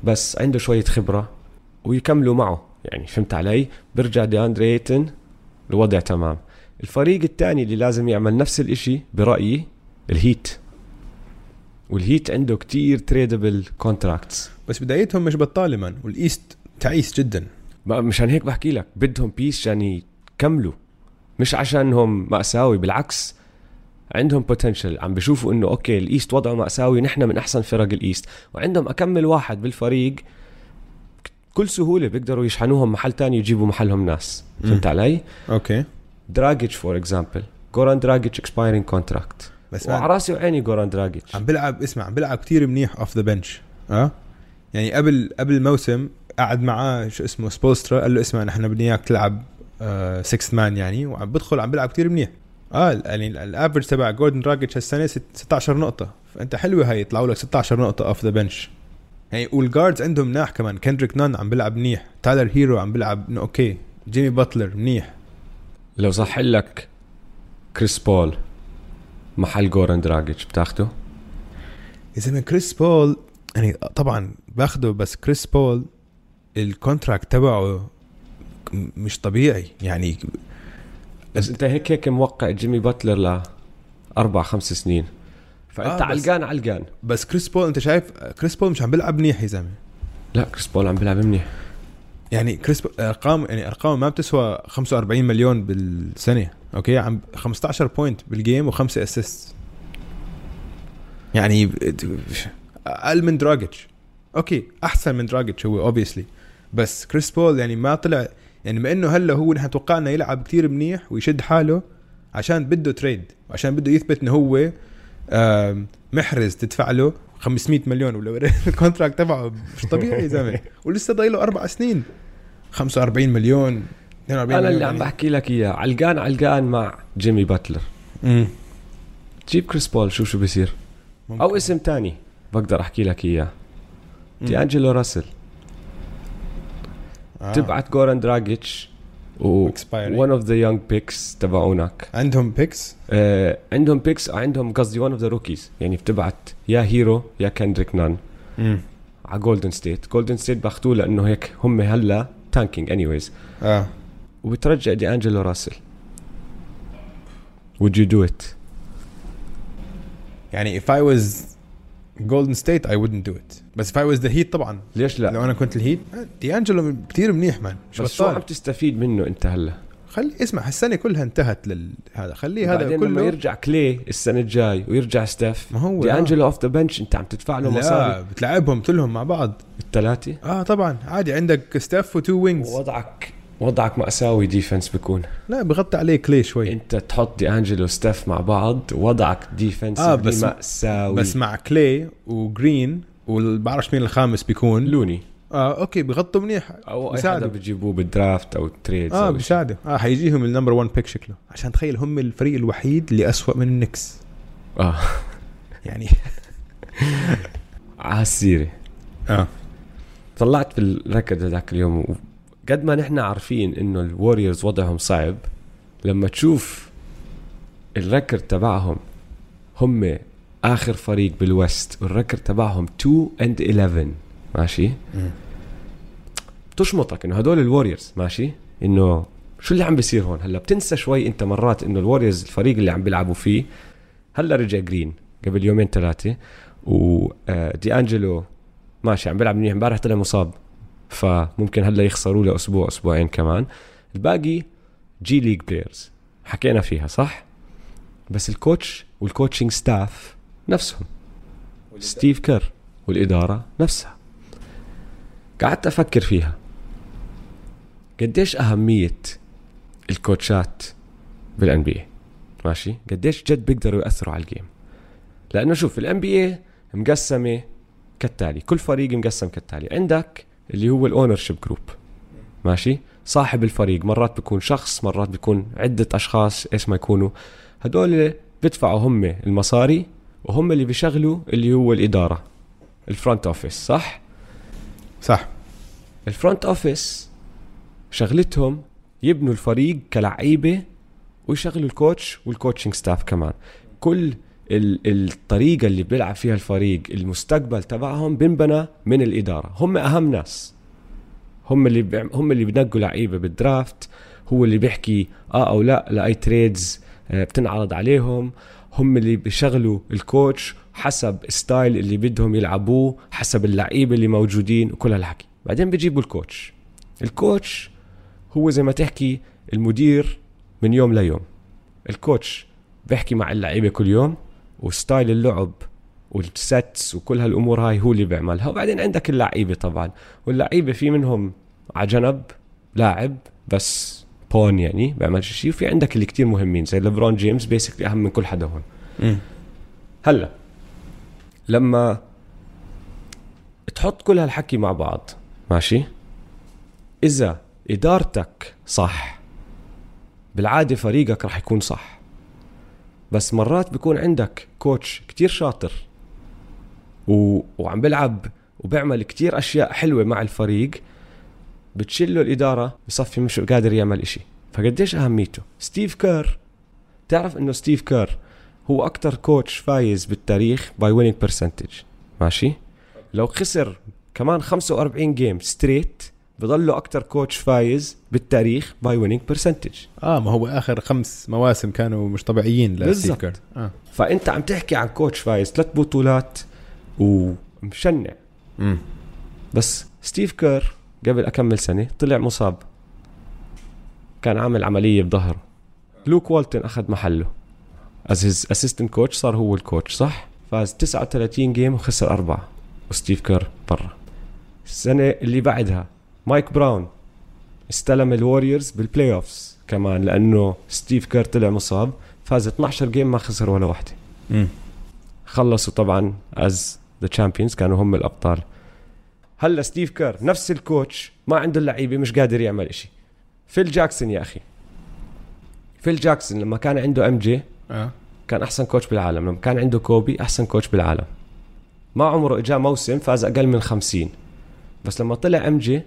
[SPEAKER 1] بس عنده شويه خبره ويكملوا معه يعني فهمت علي برجع دياندري ايتن الوضع تمام الفريق الثاني اللي لازم يعمل نفس الاشي برايي الهيت والهيت عنده كتير تريدبل كونتراكتس
[SPEAKER 2] بس بدايتهم مش بطاله من والايست تعيس جدا
[SPEAKER 1] ما- مشان هيك بحكي لك بدهم بيس عشان يكملوا مش عشان هم مأساوي بالعكس عندهم بوتنشل عم بشوفوا انه اوكي الايست وضعه مأساوي نحن من احسن فرق الايست وعندهم اكمل واحد بالفريق ك- كل سهوله بيقدروا يشحنوهم محل تاني يجيبوا محلهم ناس فهمت علي
[SPEAKER 2] اوكي
[SPEAKER 1] دراجيتش فور اكزامبل جوران دراجيتش اكسبايرنج كونتراكت
[SPEAKER 2] بس
[SPEAKER 1] وعلى
[SPEAKER 2] ما
[SPEAKER 1] راسي وعيني جوران دراجيتش
[SPEAKER 2] عم بلعب اسمع عم بلعب كثير منيح اوف ذا بنش اه يعني قبل قبل الموسم قعد معاه شو اسمه سبولسترا قال له اسمع نحن بدنا اياك تلعب 6 مان يعني وعم بدخل عم بلعب كثير منيح اه يعني ال- الافرج تبع جوردن راجيتش هالسنه ست- 16 نقطه فانت حلوه هاي يطلعوا لك 16 نقطه اوف ذا بنش يعني والجاردز عندهم مناح كمان كندريك نان عم بلعب منيح تايلر هيرو عم بلعب إنه اوكي جيمي باتلر منيح
[SPEAKER 1] لو صح لك كريس بول محل جوران دراجيتش بتاخده
[SPEAKER 2] يا زلمه كريس بول يعني طبعا باخده بس كريس بول الكونتراكت تبعه م- مش طبيعي يعني
[SPEAKER 1] بس انت هيك هيك موقع جيمي باتلر ل اربع خمس سنين فانت
[SPEAKER 2] آه،
[SPEAKER 1] آه
[SPEAKER 2] بس-
[SPEAKER 1] علقان علقان
[SPEAKER 2] بس كريس بول انت شايف كريس بول مش عم بيلعب منيح يا زلمه
[SPEAKER 1] لا كريس بول عم بيلعب منيح
[SPEAKER 2] يعني كريس بول ارقام يعني ارقامه ما بتسوى 45 مليون بالسنه اوكي عم 15 بوينت بالجيم وخمسه اسيست يعني اقل من دراجيتش اوكي احسن من دراجيتش هو اوبسلي بس كريس بول يعني ما طلع يعني ما انه هلا هو نحن توقعنا يلعب كتير منيح ويشد حاله عشان بده تريد وعشان بده يثبت انه هو آم، محرز تدفع له 500 مليون ولا الكونتراكت تبعه مش طبيعي يا زلمه ولسه ضايل له اربع سنين 45 مليون 42
[SPEAKER 1] انا
[SPEAKER 2] مليون يعني.
[SPEAKER 1] اللي عم بحكي لك اياه علقان علقان مع جيمي باتلر
[SPEAKER 2] مم.
[SPEAKER 1] جيب كريس بول شوف شو بيصير
[SPEAKER 2] ممكن.
[SPEAKER 1] او اسم تاني بقدر احكي لك اياه
[SPEAKER 2] مم.
[SPEAKER 1] دي انجلو راسل
[SPEAKER 2] آه.
[SPEAKER 1] تبعت جوران دراجيتش و
[SPEAKER 2] Expiring.
[SPEAKER 1] ون اوف ذا يونج بيكس تبعونك
[SPEAKER 2] عندهم بيكس
[SPEAKER 1] آه عندهم بيكس عندهم قصدي ون اوف ذا روكيز يعني بتبعت يا هيرو يا كندريك نان على جولدن ستيت جولدن ستيت باخذوه لانه هيك هم هلا تانكينج انيويز
[SPEAKER 2] اه
[SPEAKER 1] وبترجع دي انجلو راسل would you do it
[SPEAKER 2] يعني if I was Golden State I wouldn't do it بس if I was the Heat طبعا
[SPEAKER 1] ليش لا,
[SPEAKER 2] لا. لو انا كنت الهيت دي انجلو كثير منيح مان مش
[SPEAKER 1] بس شو عم
[SPEAKER 2] بطال
[SPEAKER 1] تستفيد منه انت هلا
[SPEAKER 2] خلي اسمع هالسنه كلها انتهت لل هذا خليه إيه هذا
[SPEAKER 1] بعدين لما
[SPEAKER 2] كله
[SPEAKER 1] يرجع كلي السنه الجاي ويرجع ستاف
[SPEAKER 2] ما هو
[SPEAKER 1] دي
[SPEAKER 2] آه.
[SPEAKER 1] انجلو اوف ذا بنش انت عم تدفع له
[SPEAKER 2] لا
[SPEAKER 1] مصاري
[SPEAKER 2] بتلعبهم كلهم مع بعض
[SPEAKER 1] الثلاثه
[SPEAKER 2] اه طبعا عادي عندك ستاف وتو وينجز
[SPEAKER 1] وضعك وضعك مأساوي ديفنس بكون
[SPEAKER 2] لا بغطي عليه كلي شوي
[SPEAKER 1] انت تحط دي انجلو ستاف مع بعض وضعك ديفنس
[SPEAKER 2] آه،
[SPEAKER 1] آه
[SPEAKER 2] بس-
[SPEAKER 1] بس مأساوي
[SPEAKER 2] بس مع كلي وجرين وبعرفش مين الخامس بيكون
[SPEAKER 1] لوني
[SPEAKER 2] اه اوكي بغطوا منيح
[SPEAKER 1] او اي حدا
[SPEAKER 2] بيساعدوا.
[SPEAKER 1] بتجيبوه بالدرافت او تريدز
[SPEAKER 2] اه
[SPEAKER 1] أو شي.
[SPEAKER 2] بيساعده اه حيجيهم النمبر 1 بيك شكله عشان تخيل هم الفريق الوحيد اللي أسوأ من النكس
[SPEAKER 1] اه
[SPEAKER 2] يعني
[SPEAKER 1] على السيره
[SPEAKER 2] اه
[SPEAKER 1] طلعت بالركض هذاك اليوم و- قد ما نحن عارفين انه الوريورز وضعهم صعب لما تشوف الركر تبعهم هم اخر فريق بالوست والركر تبعهم 2 اند 11 ماشي
[SPEAKER 2] مم.
[SPEAKER 1] بتشمطك انه هدول الوريورز ماشي انه شو اللي عم بيصير هون هلا بتنسى شوي انت مرات انه الوريورز الفريق اللي عم بيلعبوا فيه هلا رجع جرين قبل يومين آه، ثلاثه ودي انجلو ماشي عم بيلعب منيح امبارح طلع مصاب فممكن هلا يخسروا له اسبوع اسبوعين كمان الباقي جي ليج بلايرز حكينا فيها صح بس الكوتش والكوتشنج ستاف نفسهم ستيف كير والاداره نفسها قعدت افكر فيها قديش اهميه الكوتشات بالان بي ماشي قديش جد بيقدروا ياثروا على الجيم لانه شوف الان بي اي مقسمه كالتالي كل فريق مقسم كالتالي عندك اللي هو الاونر شيب جروب ماشي صاحب الفريق مرات بيكون شخص مرات بيكون عده اشخاص ايش ما يكونوا هدول بيدفعوا هم المصاري وهم اللي بيشغلوا اللي هو الاداره الفرونت اوفيس صح
[SPEAKER 2] صح
[SPEAKER 1] الفرونت اوفيس شغلتهم يبنوا الفريق كلعيبه ويشغلوا الكوتش والكوتشنج ستاف كمان كل ال- الطريقه اللي بيلعب فيها الفريق المستقبل تبعهم بنبنى من الاداره هم اهم ناس هم اللي بيعم- هم اللي بنقوا لعيبه بالدرافت هو اللي بيحكي اه او لا لاي تريدز آه، بتنعرض عليهم هم اللي بيشغلوا الكوتش حسب ستايل اللي بدهم يلعبوه حسب اللعيبه اللي موجودين وكل هالحكي بعدين بيجيبوا الكوتش الكوتش هو زي ما تحكي المدير من يوم ليوم الكوتش بيحكي مع اللعيبه كل يوم وستايل اللعب والسيتس وكل هالامور هاي هو اللي بيعملها وبعدين عندك اللعيبه طبعا واللعيبه في منهم على جنب لاعب بس بون يعني بيعملش شيء وفي عندك اللي كتير مهمين زي ليبرون جيمس بيسكلي اهم من كل حدا هون هلا لما تحط كل هالحكي مع بعض ماشي اذا ادارتك صح بالعاده فريقك رح يكون صح بس مرات بيكون عندك كوتش كتير شاطر و... وعم بلعب وبيعمل كتير اشياء حلوه مع الفريق بتشله الاداره بصفي مش قادر يعمل إشي فقديش اهميته ستيف كير تعرف انه ستيف كير هو اكتر كوتش فايز بالتاريخ باي ويننج برسنتج ماشي لو خسر كمان 45 جيم ستريت بضله اكتر كوتش فايز بالتاريخ باي ويننج برسنتج
[SPEAKER 2] اه ما هو اخر خمس مواسم كانوا مش طبيعيين لستيف
[SPEAKER 1] بالظبط.
[SPEAKER 2] كير اه
[SPEAKER 1] فانت عم تحكي عن كوتش فايز ثلاث بطولات ومشنع
[SPEAKER 2] مم.
[SPEAKER 1] بس ستيف كير قبل اكمل سنه طلع مصاب كان عامل عمليه بظهره لوك والتن اخذ محله از هيز اسيستنت كوتش صار هو الكوتش صح فاز 39 جيم وخسر اربعه وستيف كير برا السنه اللي بعدها مايك براون استلم الوريورز بالبلاي اوفز كمان لانه ستيف كير طلع مصاب فاز 12 جيم ما خسر ولا واحده
[SPEAKER 2] مم.
[SPEAKER 1] خلصوا طبعا از ذا تشامبيونز كانوا هم الابطال هلا ستيف كير نفس الكوتش ما عنده اللعيبه مش قادر يعمل إشي فيل جاكسون يا اخي فيل جاكسون لما كان عنده ام جي
[SPEAKER 2] اه
[SPEAKER 1] كان احسن كوتش بالعالم لما كان عنده كوبي احسن كوتش بالعالم ما عمره اجى موسم فاز اقل من 50 بس لما طلع ام جي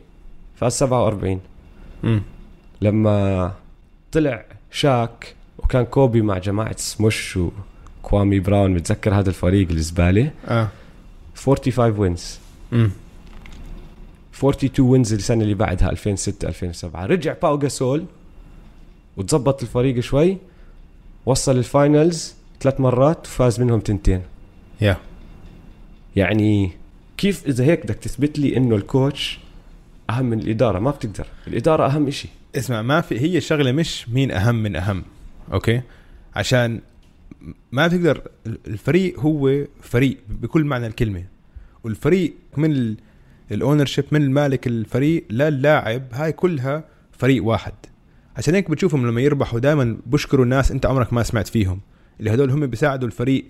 [SPEAKER 1] فاز 47
[SPEAKER 2] مم.
[SPEAKER 1] لما طلع شاك وكان كوبي مع جماعه سموش وكوامي براون متذكر هذا الفريق الزباله
[SPEAKER 2] اه
[SPEAKER 1] 45 وينز
[SPEAKER 2] مم.
[SPEAKER 1] 42 وينز السنه اللي بعدها 2006 2007 رجع باو جاسول وتظبط الفريق شوي وصل الفاينلز ثلاث مرات وفاز منهم تنتين
[SPEAKER 2] يا
[SPEAKER 1] يعني كيف اذا هيك بدك تثبت لي انه الكوتش اهم من الاداره ما بتقدر الاداره اهم شيء
[SPEAKER 2] اسمع ما في هي الشغله مش مين اهم من اهم اوكي عشان ما تقدر الفريق هو فريق بكل معنى الكلمه والفريق من الاونرشيب من المالك الفريق للاعب هاي كلها فريق واحد عشان هيك بتشوفهم لما يربحوا دائما بشكروا الناس انت عمرك ما سمعت فيهم اللي هدول هم بيساعدوا الفريق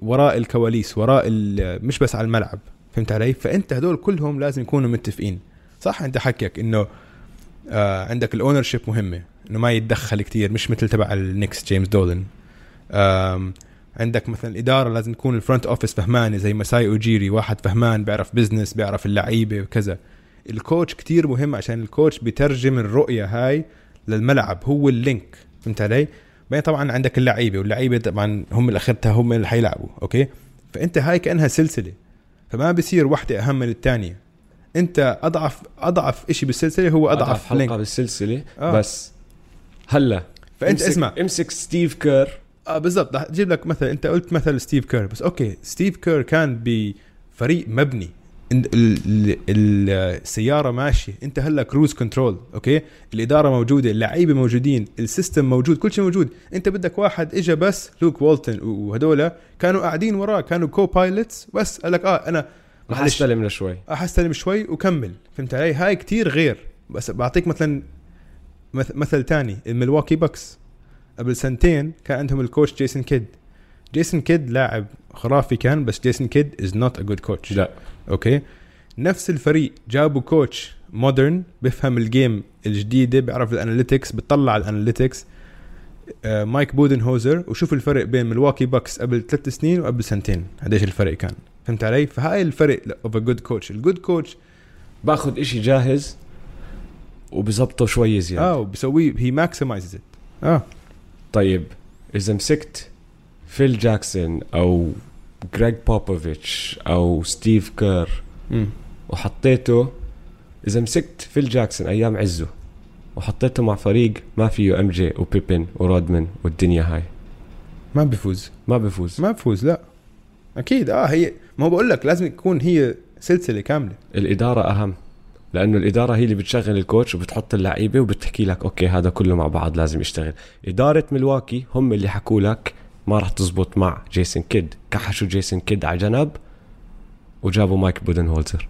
[SPEAKER 2] وراء الكواليس وراء ال- مش بس على الملعب فهمت علي فانت هدول كلهم لازم يكونوا متفقين صح انت حكيك انه آه عندك الاونر شيب مهمه انه ما يتدخل كتير مش مثل تبع النكس جيمس دولن آم، عندك مثلا الاداره لازم تكون الفرونت اوفيس فهمانه زي مساي اوجيري واحد فهمان بيعرف بزنس بيعرف اللعيبه وكذا الكوتش كتير مهم عشان الكوتش بيترجم الرؤيه هاي للملعب هو اللينك فهمت علي بعدين طبعا عندك اللعيبه واللعيبه طبعا هم اللي اخرتها هم اللي حيلعبوا اوكي فانت هاي كانها سلسله فما بصير وحده اهم من الثانيه انت اضعف اضعف شيء بالسلسله هو اضعف, أضعف
[SPEAKER 1] حلقه
[SPEAKER 2] لينك
[SPEAKER 1] بالسلسله
[SPEAKER 2] آه.
[SPEAKER 1] آه. بس هلا
[SPEAKER 2] فانت
[SPEAKER 1] امسك-
[SPEAKER 2] اسمع
[SPEAKER 1] امسك ستيف كير
[SPEAKER 2] اه بالضبط رح اجيب لك مثل انت قلت مثل ستيف كير بس اوكي ستيف كير كان بفريق مبني إن- ال- ال- ال- السياره ماشيه انت هلا كروز كنترول اوكي الاداره موجوده اللعيبه موجودين السيستم موجود كل شيء موجود انت بدك واحد اجى بس لوك والتن وهدول كانوا قاعدين وراه كانوا كو بايلوتس بس قال لك اه انا
[SPEAKER 1] رح
[SPEAKER 2] معلش.
[SPEAKER 1] استلمنا شوي
[SPEAKER 2] احستلم شوي وكمل فهمت علي هاي كتير غير بس بعطيك مثلا مث- مثل تاني الملواكي بكس قبل سنتين كان عندهم الكوتش جيسون كيد جيسون كيد لاعب خرافي كان بس جيسون كيد از نوت ا جود كوتش
[SPEAKER 1] لا
[SPEAKER 2] اوكي نفس الفريق جابوا كوتش مودرن بيفهم الجيم الجديده بيعرف الاناليتكس بيطلع الاناليتكس آه، مايك بودن هوزر وشوف الفرق بين ملواكي باكس قبل ثلاث سنين وقبل سنتين قديش الفرق كان فهمت علي فهاي الفرق اوف ا جود كوتش الجود كوتش
[SPEAKER 1] باخذ اشي جاهز وبزبطه شوي زياده
[SPEAKER 2] اه وبسويه هي ماكسمايزز ات اه
[SPEAKER 1] طيب اذا مسكت فيل جاكسون او جريج بوبوفيتش او ستيف كير
[SPEAKER 2] مم.
[SPEAKER 1] وحطيته اذا مسكت فيل جاكسون ايام عزه وحطيته مع فريق ما فيه ام جي وبيبن ورودمان والدنيا هاي
[SPEAKER 2] ما بيفوز
[SPEAKER 1] ما بفوز
[SPEAKER 2] ما بفوز لا اكيد اه هي ما هو بقول لك لازم تكون هي سلسله كامله
[SPEAKER 1] الاداره اهم لانه الاداره هي اللي بتشغل الكوتش وبتحط اللعيبه وبتحكي لك اوكي هذا كله مع بعض لازم يشتغل اداره ملواكي هم اللي حكوا لك ما راح تزبط مع جيسون كيد كحشوا جيسون كيد على جنب وجابوا مايك بودن هولزر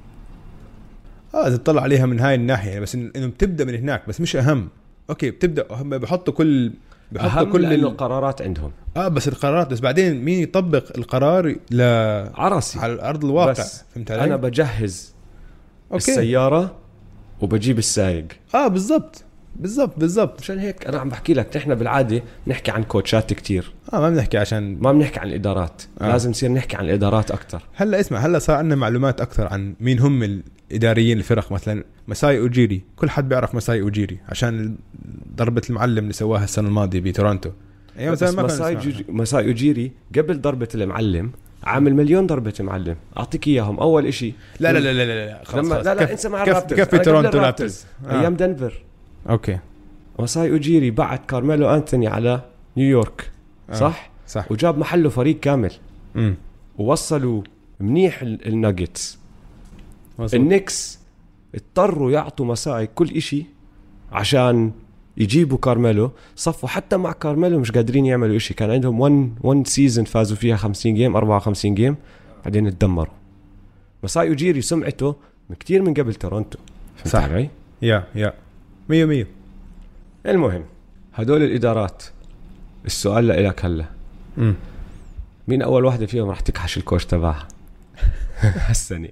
[SPEAKER 2] اه اذا تطلع عليها من هاي الناحيه يعني بس إن- انه بتبدا من هناك بس مش اهم اوكي بتبدا هم بحطوا كل بحطوا
[SPEAKER 1] اهم كل
[SPEAKER 2] كل
[SPEAKER 1] لانه
[SPEAKER 2] ال...
[SPEAKER 1] القرارات عندهم
[SPEAKER 2] اه بس القرارات بس بعدين مين يطبق القرار ل...
[SPEAKER 1] عرسي
[SPEAKER 2] على ارض الواقع
[SPEAKER 1] بس
[SPEAKER 2] فهمت علي؟
[SPEAKER 1] انا بجهز أوكي.
[SPEAKER 2] اوكي
[SPEAKER 1] السياره وبجيب السايق
[SPEAKER 2] اه بالضبط بالضبط بالضبط
[SPEAKER 1] مشان هيك انا عم بحكي لك نحن بالعاده بنحكي عن كوتشات كتير
[SPEAKER 2] اه ما بنحكي عشان
[SPEAKER 1] ما بنحكي عن الادارات
[SPEAKER 2] آه.
[SPEAKER 1] آه. لازم نصير نحكي عن الادارات اكثر
[SPEAKER 2] هلا اسمع هلا صار عندنا معلومات اكثر عن مين هم الاداريين الفرق مثلا مساي اوجيري كل حد بيعرف مساي اوجيري عشان ضربه المعلم اللي سواها السنه الماضيه بتورونتو ايام
[SPEAKER 1] إيه، بس
[SPEAKER 2] زمان إيه، ما كنا
[SPEAKER 1] مساي
[SPEAKER 2] نسمع
[SPEAKER 1] جوجي- مساي اوجيري قبل ضربه المعلم عامل مليون ضربة معلم اعطيك اياهم اول اشي
[SPEAKER 2] لا لا لا لا لا لا خلاص
[SPEAKER 1] لما
[SPEAKER 2] خلاص.
[SPEAKER 1] لا لا
[SPEAKER 2] كف-
[SPEAKER 1] انسى مع
[SPEAKER 2] كف-
[SPEAKER 1] الرابترز
[SPEAKER 2] كفي
[SPEAKER 1] أنا قبل
[SPEAKER 2] تورونتو
[SPEAKER 1] الرابترز.
[SPEAKER 2] رابترز. آه.
[SPEAKER 1] ايام دنفر
[SPEAKER 2] اوكي
[SPEAKER 1] مساي اوجيري بعت كارميلو انتوني على نيويورك
[SPEAKER 2] آه.
[SPEAKER 1] صح
[SPEAKER 2] صح
[SPEAKER 1] وجاب محله فريق كامل
[SPEAKER 2] امم
[SPEAKER 1] ووصلوا منيح ال- الناجتس النكس اضطروا يعطوا مساي كل اشي عشان يجيبوا كارميلو صفوا حتى مع كارميلو مش قادرين يعملوا اشي كان عندهم 1 1 سيزون فازوا فيها 50 جيم 54 جيم بعدين اتدمروا مساي اوجيري سمعته من كتير من قبل تورونتو فهمت
[SPEAKER 2] صح.
[SPEAKER 1] علي؟
[SPEAKER 2] يا يا 100 100
[SPEAKER 1] المهم هدول الادارات السؤال لإلك هلا
[SPEAKER 2] امم
[SPEAKER 1] مين اول واحده فيهم راح تكحش الكوش تبعها هالسنه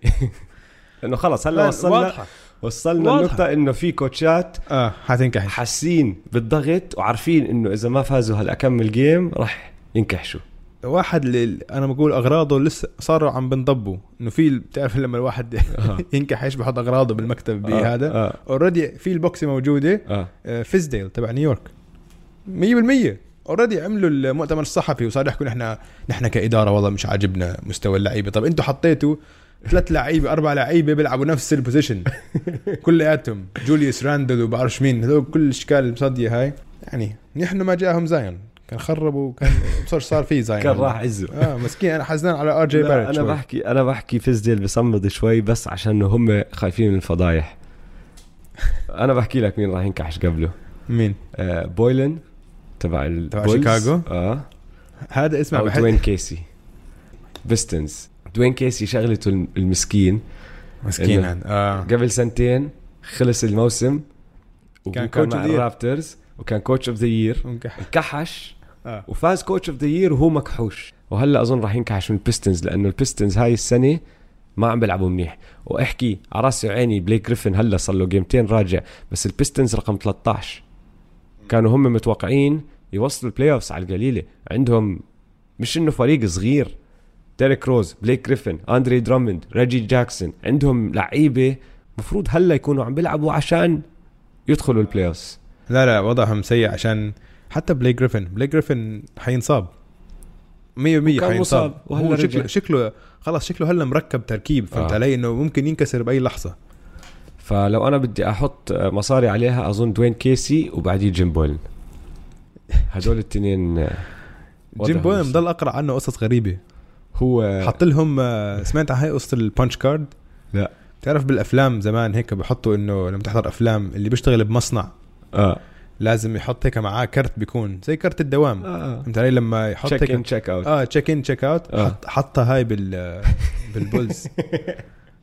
[SPEAKER 1] لانه خلص هلا وصلنا
[SPEAKER 2] واضحه
[SPEAKER 1] وصلنا
[SPEAKER 2] واضحة.
[SPEAKER 1] النقطة انه في كوتشات
[SPEAKER 2] اه حتنكحش
[SPEAKER 1] حاسين بالضغط وعارفين انه اذا ما فازوا هالاكمل جيم رح ينكحشوا
[SPEAKER 2] واحد اللي انا بقول اغراضه لسه صاروا عم بنضبوا انه في بتعرف لما الواحد
[SPEAKER 1] آه.
[SPEAKER 2] ينكحش بحط اغراضه بالمكتب بهذا
[SPEAKER 1] اه
[SPEAKER 2] اوريدي في البوكسي موجوده
[SPEAKER 1] اه
[SPEAKER 2] آه، فيزديل تبع نيويورك 100% اوريدي عملوا المؤتمر الصحفي وصار يحكوا نحن نحن كاداره والله مش عاجبنا مستوى اللعيبه طب انتوا حطيتوا ثلاث لعيبه اربع لعيبه بيلعبوا نفس البوزيشن كلياتهم جوليوس راندل وبعرفش مين هذول كل الاشكال المصديه هاي يعني نحن ما جاهم زاين كان خربوا كان صار صار في زاين
[SPEAKER 1] كان راح عزه
[SPEAKER 2] اه مسكين انا حزنان على ار جي
[SPEAKER 1] لا،
[SPEAKER 2] بارت
[SPEAKER 1] انا
[SPEAKER 2] شوي
[SPEAKER 1] بحكي انا بحكي فيزديل بصمد شوي بس عشان إنه هم خايفين من الفضايح انا بحكي لك مين راح ينكحش قبله
[SPEAKER 2] مين
[SPEAKER 1] آه بويلن تبع ال-
[SPEAKER 2] تبع
[SPEAKER 1] Bulls.
[SPEAKER 2] شيكاغو؟
[SPEAKER 1] اه
[SPEAKER 2] هذا اسمع
[SPEAKER 1] او
[SPEAKER 2] بحس
[SPEAKER 1] دوين كيسي بيستنز دوين كيسي شغلته الم- المسكين
[SPEAKER 2] مسكين هذا. اه
[SPEAKER 1] قبل سنتين خلص الموسم
[SPEAKER 2] كان
[SPEAKER 1] وكان
[SPEAKER 2] coach
[SPEAKER 1] كوتش
[SPEAKER 2] of
[SPEAKER 1] مع
[SPEAKER 2] the year.
[SPEAKER 1] الرابترز وكان كوتش اوف ذا يير
[SPEAKER 2] انكح-
[SPEAKER 1] انكحش
[SPEAKER 2] آه.
[SPEAKER 1] وفاز كوتش اوف ذا يير وهو مكحوش وهلا اظن راح ينكحش من البيستنز لانه البيستنز هاي السنه ما عم بيلعبوا منيح واحكي على راسي وعيني بليك جريفن هلا صار له جيمتين راجع بس البيستنز رقم 13 كانوا هم متوقعين يوصلوا البلاي اوفز على القليله عندهم مش انه فريق صغير ديريك روز بليك جريفن اندري درامند ريجي جاكسون عندهم لعيبه مفروض هلا يكونوا عم بيلعبوا عشان يدخلوا البلاي اوفز
[SPEAKER 2] لا لا وضعهم سيء عشان حتى بليك جريفن بليك جريفن حينصاب 100%
[SPEAKER 1] وكان
[SPEAKER 2] حينصاب
[SPEAKER 1] مصاب، وهلا
[SPEAKER 2] هو
[SPEAKER 1] رجع.
[SPEAKER 2] شكله شكله خلاص شكله هلا مركب تركيب فهمت
[SPEAKER 1] آه.
[SPEAKER 2] علي انه ممكن ينكسر باي لحظه
[SPEAKER 1] فلو انا بدي احط مصاري عليها اظن دوين كيسي وبعديه جيم بولن هدول التنين
[SPEAKER 2] جيم
[SPEAKER 1] وضعهم
[SPEAKER 2] بوين
[SPEAKER 1] مش-
[SPEAKER 2] مضل اقرا عنه قصص غريبه
[SPEAKER 1] هو
[SPEAKER 2] حط لهم آه، سمعت عن هاي قصه البانش كارد
[SPEAKER 1] لا.
[SPEAKER 2] بتعرف بالافلام زمان هيك بحطوا انه لما تحضر افلام اللي بيشتغل بمصنع
[SPEAKER 1] اه
[SPEAKER 2] لازم يحط هيك معاه كرت بيكون زي كرت
[SPEAKER 1] آه.
[SPEAKER 2] الدوام فهمت علي لما يحط
[SPEAKER 1] تشيك
[SPEAKER 2] هيك
[SPEAKER 1] ان تشيك اوت
[SPEAKER 2] اه تشيك ان تشيك اوت
[SPEAKER 1] آه.
[SPEAKER 2] حط حطها هاي بال بالبولز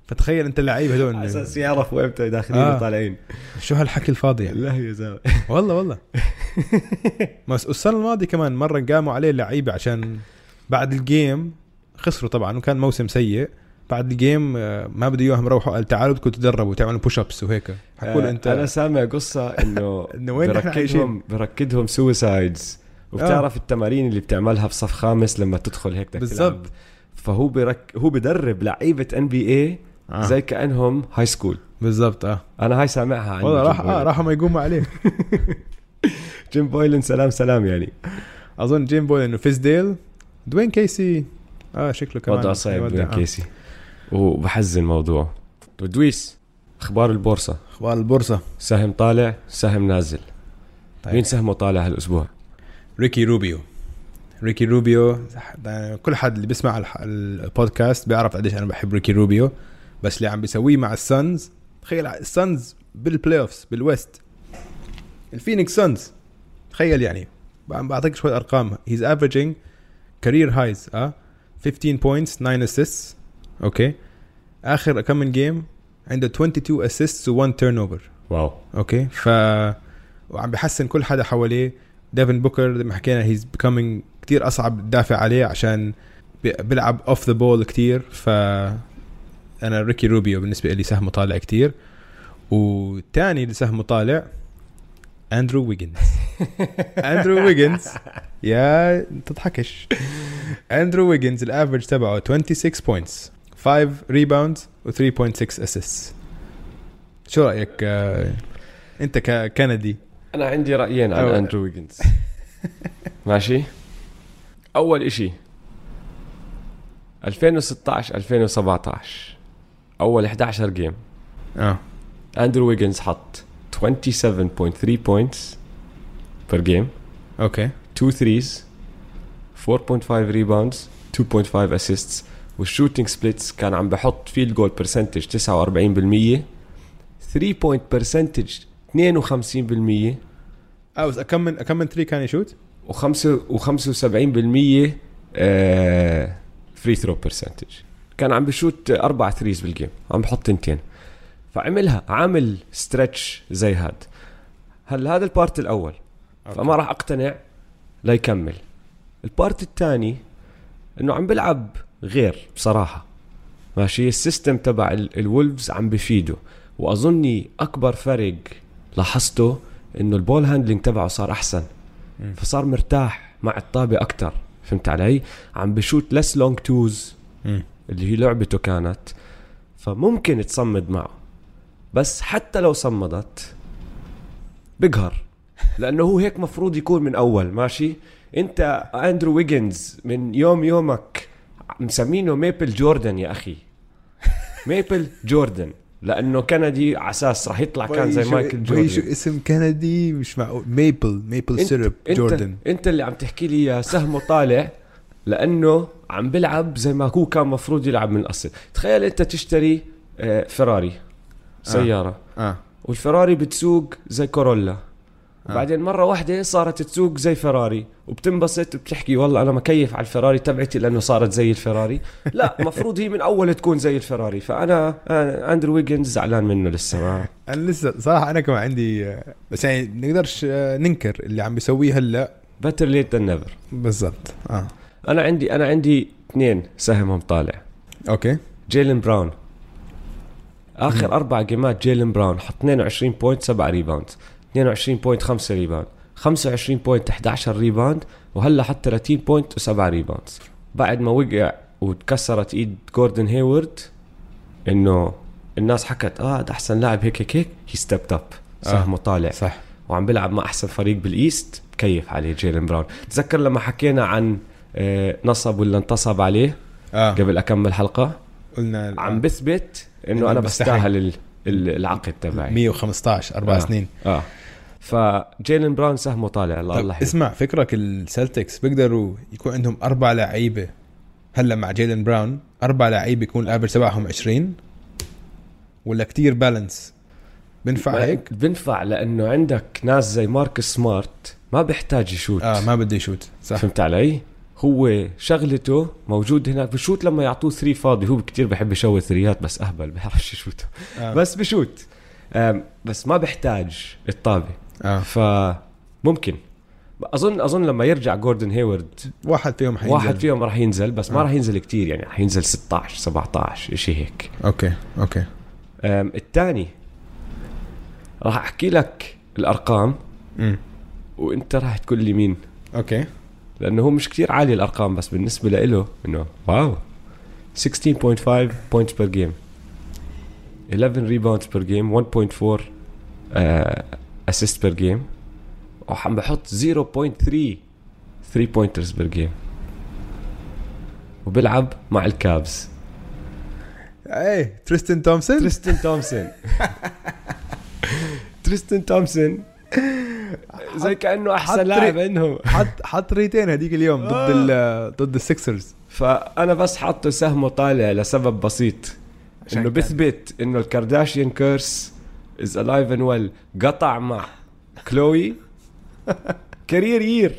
[SPEAKER 2] فتخيل انت اللعيب
[SPEAKER 1] على
[SPEAKER 2] هذول
[SPEAKER 1] اساس يعرف وامتى داخلين
[SPEAKER 2] آه.
[SPEAKER 1] وطالعين
[SPEAKER 2] شو هالحكي الفاضي يعني
[SPEAKER 1] لا يا زلمه
[SPEAKER 2] والله والله بس السنه الماضيه كمان مره قاموا عليه اللعيبه عشان بعد الجيم خسروا طبعا وكان موسم سيء بعد الجيم آه، ما بده اياهم يروحوا قال تعالوا بدكم تدربوا تعملوا بوش ابس وهيك حكوا
[SPEAKER 1] آه،
[SPEAKER 2] له انت
[SPEAKER 1] انا سامع قصه انه
[SPEAKER 2] إنه وين نحن
[SPEAKER 1] بركدهم بركدهم سوسايدز وبتعرف التمارين اللي بتعملها في صف خامس لما تدخل هيك بدك
[SPEAKER 2] آه. بالضبط.
[SPEAKER 1] تلعب. فهو برك هو بدرب لعيبه ان بي اي
[SPEAKER 2] آه.
[SPEAKER 1] زي كانهم هاي سكول
[SPEAKER 2] بالضبط اه
[SPEAKER 1] انا هاي سامعها عن
[SPEAKER 2] والله
[SPEAKER 1] جيم
[SPEAKER 2] راح اه
[SPEAKER 1] بويلن.
[SPEAKER 2] راح ما يقوم عليه
[SPEAKER 1] جيم بويلن سلام سلام يعني
[SPEAKER 2] اظن جيم بويل انه فيزديل دوين كيسي اه شكله كمان
[SPEAKER 1] وضع صعب
[SPEAKER 2] يودع.
[SPEAKER 1] وين
[SPEAKER 2] آه.
[SPEAKER 1] كيسي وبحزن الموضوع دويس اخبار البورصه
[SPEAKER 2] اخبار البورصه
[SPEAKER 1] سهم طالع سهم نازل
[SPEAKER 2] طيب.
[SPEAKER 1] طيب. مين سهمه طالع هالاسبوع
[SPEAKER 2] ريكي روبيو ريكي روبيو ده كل حد اللي بيسمع الح- البودكاست بيعرف قديش انا بحب ريكي روبيو بس اللي عم بيسويه مع السانز تخيل السانز بالبلاي اوفز بالويست الفينيكس سانز تخيل يعني ب- بعطيك شوي ارقام هيز افريجينج كارير هايز اه 15 بوينتس 9 اسيست اوكي اخر كم من جيم عنده 22 اسيست و1 تيرن اوفر
[SPEAKER 1] واو
[SPEAKER 2] اوكي ف وعم بحسن كل حدا حواليه ديفن بوكر زي ما حكينا هيز becoming كتير اصعب تدافع عليه عشان بي- بيلعب اوف ذا بول كتير ف انا ريكي روبيو بالنسبه لي سهمه طالع كتير والثاني اللي سهمه طالع اندرو ويجنز اندرو ويجنز يا تضحكش اندرو ويجنز الافرج تبعه 26 بوينتس 5 ريباوندز و3.6 اسيست شو رايك آه، انت ككندي
[SPEAKER 1] انا عندي رايين عن
[SPEAKER 2] أول.
[SPEAKER 1] اندرو ويجنز ماشي اول اشي 2016 2017 اول 11 جيم
[SPEAKER 2] اه
[SPEAKER 1] اندرو ويجنز حط 27.3 بوينتس بير جيم
[SPEAKER 2] اوكي
[SPEAKER 1] 2 ثريز 4.5 ريباوندز 2.5 اسيستس والشوتينج سبليتس كان عم بحط فيلد جول برسنتج 49% 3 بوينت برسنتج 52%
[SPEAKER 2] اه بس كم من كم من 3 كان يشوت؟
[SPEAKER 1] وخمسة وخمسة وسبعين بالمية آه، فري ثرو برسنتج كان عم بشوت أربع ثريز بالجيم عم بحط تنتين فعملها عامل ستريتش زي هاد هل هذا البارت الأول
[SPEAKER 2] أوكي.
[SPEAKER 1] فما راح أقتنع ليكمل البارت الثاني إنه عم بلعب غير بصراحة ماشي السيستم تبع ال- الولفز عم بفيده وأظني أكبر فرق لاحظته إنه البول هاندلنج تبعه صار أحسن فصار مرتاح مع الطابة أكتر فهمت علي؟ عم بشوت لس لونج توز
[SPEAKER 2] مم.
[SPEAKER 1] اللي هي لعبته كانت فممكن تصمد معه بس حتى لو صمدت بقهر لأنه هو هيك مفروض يكون من أول ماشي؟ أنت أندرو ويجنز من يوم يومك مسمينه ميبل جوردن يا أخي ميبل جوردن لأنه كندي على أساس رح يطلع كان زي مايكل جوردن
[SPEAKER 2] شو اسم كندي مش معقول ميبل ميبل سيرب
[SPEAKER 1] انت
[SPEAKER 2] جوردن
[SPEAKER 1] انت اللي عم تحكي لي اياه سهمه طالع لانه عم بلعب زي ما هو كان مفروض يلعب من الاصل تخيل انت تشتري آه، فيراري سياره آه.
[SPEAKER 2] اه
[SPEAKER 1] والفيراري بتسوق زي كورولا
[SPEAKER 2] آه.
[SPEAKER 1] بعدين مرة واحدة صارت تسوق زي فيراري وبتنبسط وبتحكي والله أنا مكيف على الفيراري تبعتي لأنه صارت زي الفيراري لا مفروض هي من أول تكون زي الفيراري فأنا آه، أندرو ويجنز زعلان منه لسه ما
[SPEAKER 2] انا لسه صراحه انا كمان عندي آه، بس يعني نقدرش آه، ننكر اللي عم بيسويه هلا
[SPEAKER 1] بتر ليت ذان نيفر
[SPEAKER 2] بالضبط اه
[SPEAKER 1] أنا عندي أنا عندي اثنين سهمهم طالع
[SPEAKER 2] اوكي
[SPEAKER 1] جيلن براون اخر اربع جيمات جيلن براون حط 22 بوينت 7 ريباوند 22 بوينت 5 ريباوند 25 بوينت 11 ريباوند وهلا حط 30 بوينت و7 ريباوند بعد ما وقع وتكسرت ايد جوردن هيورد انه الناس حكت اه ده احسن لاعب هيك هيك هيك هي ستيبت اب سهمه طالع
[SPEAKER 2] صح
[SPEAKER 1] وعم بيلعب مع احسن فريق بالايست كيف عليه جيلن براون تذكر لما حكينا عن آه، نصب ولا انتصب عليه
[SPEAKER 2] اه
[SPEAKER 1] قبل اكمل حلقه
[SPEAKER 2] قلنا
[SPEAKER 1] آه. عم بثبت
[SPEAKER 2] إنه
[SPEAKER 1] انه انا
[SPEAKER 2] بستحق.
[SPEAKER 1] بستاهل ال- ال- العقد تبعي
[SPEAKER 2] 115 اربع
[SPEAKER 1] آه.
[SPEAKER 2] سنين
[SPEAKER 1] اه فجيلن براون سهمه طالع الله
[SPEAKER 2] طب
[SPEAKER 1] الله حلو.
[SPEAKER 2] طيب، اسمع فكرك السلتكس بيقدروا يكون عندهم اربع لعيبه هلا مع جيلن براون اربع لعيبه يكون الافرج تبعهم 20 ولا كتير بالانس بنفع هيك؟
[SPEAKER 1] بنفع لانه عندك ناس زي مارك سمارت ما بيحتاج يشوت
[SPEAKER 2] اه آه، ما بده يشوت صح
[SPEAKER 1] فهمت علي؟ هو شغلته موجود هناك بشوت لما يعطوه ثري فاضي هو كتير بحب يشوي ثريات بس اهبل بيعرفش يشوته
[SPEAKER 2] آه.
[SPEAKER 1] بس بشوت آم، بس ما بحتاج الطابه
[SPEAKER 2] آه.
[SPEAKER 1] فممكن اظن اظن لما يرجع جوردن هيورد
[SPEAKER 2] واحد فيهم حينزل
[SPEAKER 1] واحد فيهم راح ينزل بس ما
[SPEAKER 2] آه.
[SPEAKER 1] راح ينزل كتير يعني راح ينزل 16 17 شيء هيك
[SPEAKER 2] اوكي اوكي
[SPEAKER 1] أم، الثاني راح احكي لك الارقام
[SPEAKER 2] امم
[SPEAKER 1] وانت راح تقول لي مين
[SPEAKER 2] اوكي
[SPEAKER 1] لانه هو مش كتير عالي الارقام بس بالنسبه لإله انه واو 16.5 بوينتس بير جيم 11 ريباوندز بير جيم 1.4 آه، اسيست بير جيم وعم بحط 0.3 3 بوينترز بير جيم وبيلعب مع الكابز
[SPEAKER 2] ايه تريستن تومسون
[SPEAKER 1] تريستن تومسون تريستن تومسون زي كانه احسن
[SPEAKER 2] حط-
[SPEAKER 1] لاعب عندهم
[SPEAKER 2] حط حط ريتين هذيك اليوم ضد ال ضد السكسرز
[SPEAKER 1] فانا بس حاطه سهمه طالع لسبب بسيط
[SPEAKER 2] عشان
[SPEAKER 1] انه
[SPEAKER 2] كان-
[SPEAKER 1] بثبت انه الكارداشيان كيرس از الايف اند ويل قطع مع كلوي كارير يير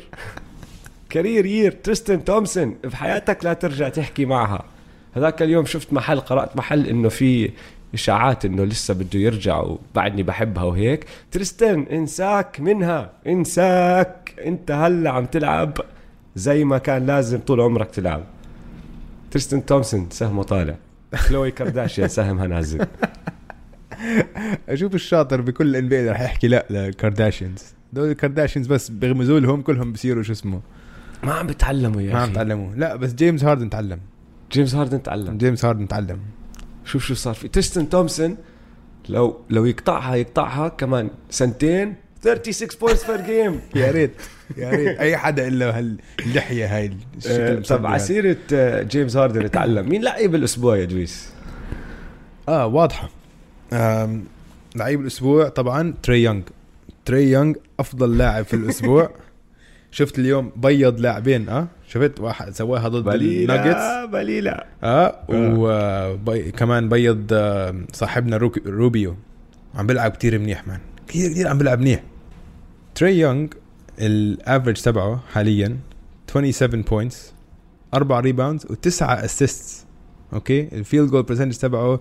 [SPEAKER 1] كارير يير تريستن تومسون بحياتك لا ترجع تحكي معها هذاك اليوم شفت محل قرات محل انه في اشاعات انه لسه بده يرجع وبعدني بحبها وهيك تريستن انساك منها انساك انت هلا عم تلعب زي ما كان لازم طول عمرك تلعب تريستن تومسون سهمه طالع كلوي كارداشيان سهمها نازل
[SPEAKER 2] اشوف الشاطر بكل ان بي اللي راح يحكي لا للكارداشيانز دول الكارداشيانز بس بيغمزوا لهم كلهم بصيروا شو اسمه
[SPEAKER 1] ما عم بتعلموا يا
[SPEAKER 2] ما عم
[SPEAKER 1] اخي
[SPEAKER 2] تعلموا لا بس جيمس هاردن تعلم
[SPEAKER 1] جيمس هاردن تعلم
[SPEAKER 2] جيمس هاردن تعلم
[SPEAKER 1] شوف شو صار في تريستن تومسون لو لو يقطعها يقطعها كمان سنتين 36 بوينتس بير جيم
[SPEAKER 2] يا ريت يا ريت اي حدا الا هاللحيه هاي الشكل
[SPEAKER 1] أه، طب
[SPEAKER 2] المصدع
[SPEAKER 1] على
[SPEAKER 2] هذا.
[SPEAKER 1] سيرة آه، جيمس هاردن تعلم مين لعيب الاسبوع يا دويس؟
[SPEAKER 2] اه واضحه آم، لعيب الاسبوع طبعا تري يونغ تري يونغ افضل لاعب في الاسبوع شفت اليوم بيض لاعبين اه شفت واحد سواها ضد الناجتس
[SPEAKER 1] بليلة بليلة
[SPEAKER 2] اه وكمان بيض آم، صاحبنا روك- روبيو عم بيلعب كتير منيح مان كتير كتير عم بيلعب منيح تري يونغ الافرج تبعه حاليا 27 بوينتس 4 ريباوندز وتسعة اسيستس اوكي الفيلد جول برسنتج تبعه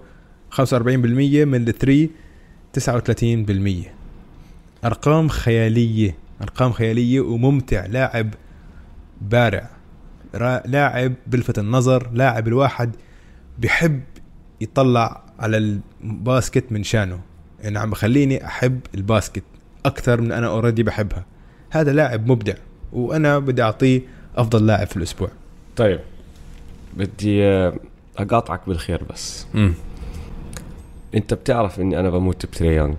[SPEAKER 2] 45% من ال 3 39% ارقام خياليه ارقام خياليه وممتع لاعب بارع را- لاعب بلفت النظر لاعب الواحد بحب يطلع على الباسكت من شانه يعني عم بخليني احب الباسكت اكثر من انا اوريدي بحبها هذا لاعب مبدع وانا بدي اعطيه افضل لاعب في الاسبوع
[SPEAKER 1] طيب بدي آه، اقاطعك بالخير بس
[SPEAKER 2] امم
[SPEAKER 1] انت بتعرف اني انا بموت بتري يونغ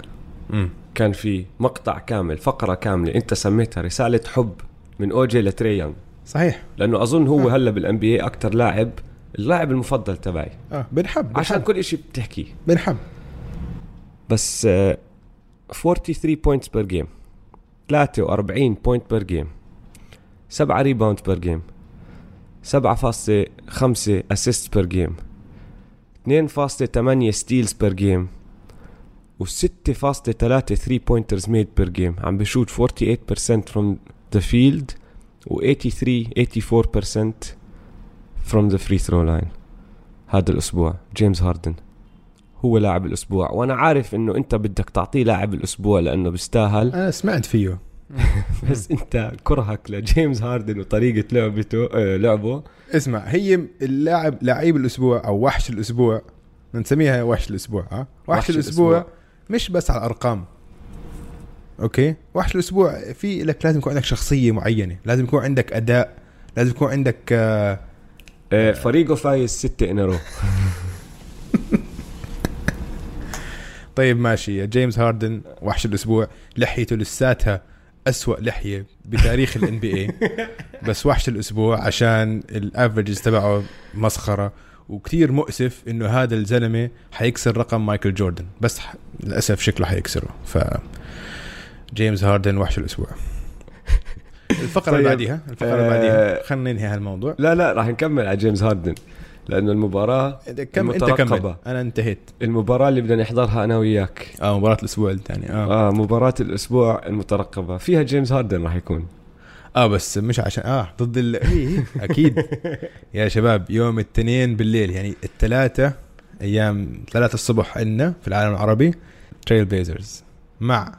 [SPEAKER 2] امم
[SPEAKER 1] كان في مقطع كامل فقرة كاملة انت سميتها رسالة حب من اوجي لتري يونغ
[SPEAKER 2] صحيح
[SPEAKER 1] لانه اظن هو هلا بالان بي اي اكثر لاعب اللاعب المفضل تبعي
[SPEAKER 2] اه بنحب بنحب
[SPEAKER 1] عشان كل شيء بتحكيه
[SPEAKER 2] بنحب
[SPEAKER 1] بس آه، 43 بوينتس بير جيم 43 بوينت بير جيم 7 ريباوند بير جيم 7.5 اسيست بير جيم 2.8 ستيلز بير جيم و6.3 3 بوينترز ميد بير جيم عم بشوت 48% from the field و 83 84% from the free throw line هذا الاسبوع جيمس هاردن هو لاعب الاسبوع وانا عارف انه انت بدك تعطيه لاعب الاسبوع لانه بيستاهل
[SPEAKER 2] انا سمعت فيه
[SPEAKER 1] بس انت كرهك لجيمس هاردن وطريقه لعبته آه، لعبه
[SPEAKER 2] اسمع هي اللاعب لعيب الاسبوع او وحش الاسبوع نسميها وحش الاسبوع ها وحش,
[SPEAKER 1] وحش
[SPEAKER 2] وحش الأسبوع,
[SPEAKER 1] الأسبوع.
[SPEAKER 2] الاسبوع مش بس على الارقام اوكي وحش الاسبوع في لك لازم يكون عندك شخصيه معينه لازم يكون عندك اداء لازم يكون عندك آه،
[SPEAKER 1] آه، فريقه فايز ستة انرو
[SPEAKER 2] طيب ماشي يا جيمس هاردن وحش الاسبوع لحيته لساتها أسوأ لحيه بتاريخ الان بي اي بس وحش الاسبوع عشان الافرجز تبعه مسخره وكتير مؤسف انه هذا الزلمه حيكسر رقم مايكل جوردن بس ح- للاسف شكله حيكسره ف جيمس هاردن وحش الاسبوع الفقره
[SPEAKER 1] طيب.
[SPEAKER 2] اللي بعديها الفقره اللي
[SPEAKER 1] آه.
[SPEAKER 2] بعديها خلينا ننهي هالموضوع
[SPEAKER 1] لا لا راح نكمل على جيمس هاردن لانه المباراه
[SPEAKER 2] كم انت كمل
[SPEAKER 1] المترقبة.
[SPEAKER 2] انا انتهيت
[SPEAKER 1] المباراه اللي بدنا نحضرها انا وياك
[SPEAKER 2] اه
[SPEAKER 1] آه.
[SPEAKER 2] مباراه الاسبوع الثاني اه
[SPEAKER 1] اه مباراه الاسبوع المترقبه فيها جيمس هاردن راح يكون
[SPEAKER 2] اه بس مش عشان اه ضد ال إيه، اكيد يا شباب يوم الاثنين بالليل يعني الثلاثة ايام ثلاثة الصبح عندنا في العالم العربي تريل بليزرز مع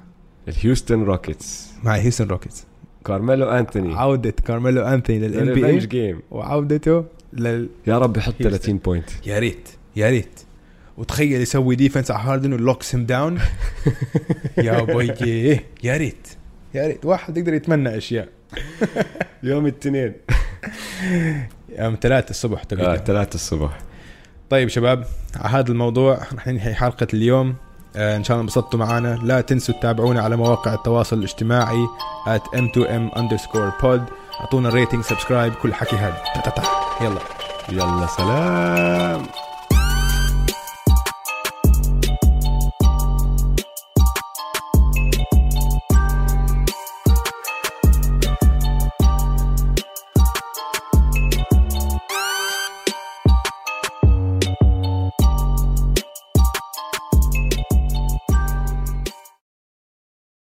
[SPEAKER 1] الهيوستن روكيتس
[SPEAKER 2] مع هيوستن روكيتس
[SPEAKER 1] كارميلو انتوني
[SPEAKER 2] عودة كارميلو انثوني للان بي
[SPEAKER 1] ريفنج
[SPEAKER 2] اي
[SPEAKER 1] جيم
[SPEAKER 2] وعودته لل
[SPEAKER 1] يا رب يحط
[SPEAKER 2] هيوستن.
[SPEAKER 1] 30 بوينت
[SPEAKER 2] يا ريت يا ريت وتخيل يسوي ديفنس على هاردن ولوكس هيم داون يا بوي يا ريت يا ريت واحد يقدر يتمنى اشياء
[SPEAKER 1] يوم الاثنين
[SPEAKER 2] يوم ثلاثة الصبح
[SPEAKER 1] آه
[SPEAKER 2] تقريبا
[SPEAKER 1] 3 الصبح
[SPEAKER 2] طيب شباب على هذا الموضوع رح ننهي حلقة اليوم آه، ان شاء الله انبسطتوا معنا لا تنسوا تتابعونا على مواقع التواصل الاجتماعي at m2m underscore pod اعطونا ريتنج سبسكرايب كل حكي هذا تا- تا- تا. يلا
[SPEAKER 1] يلا سلام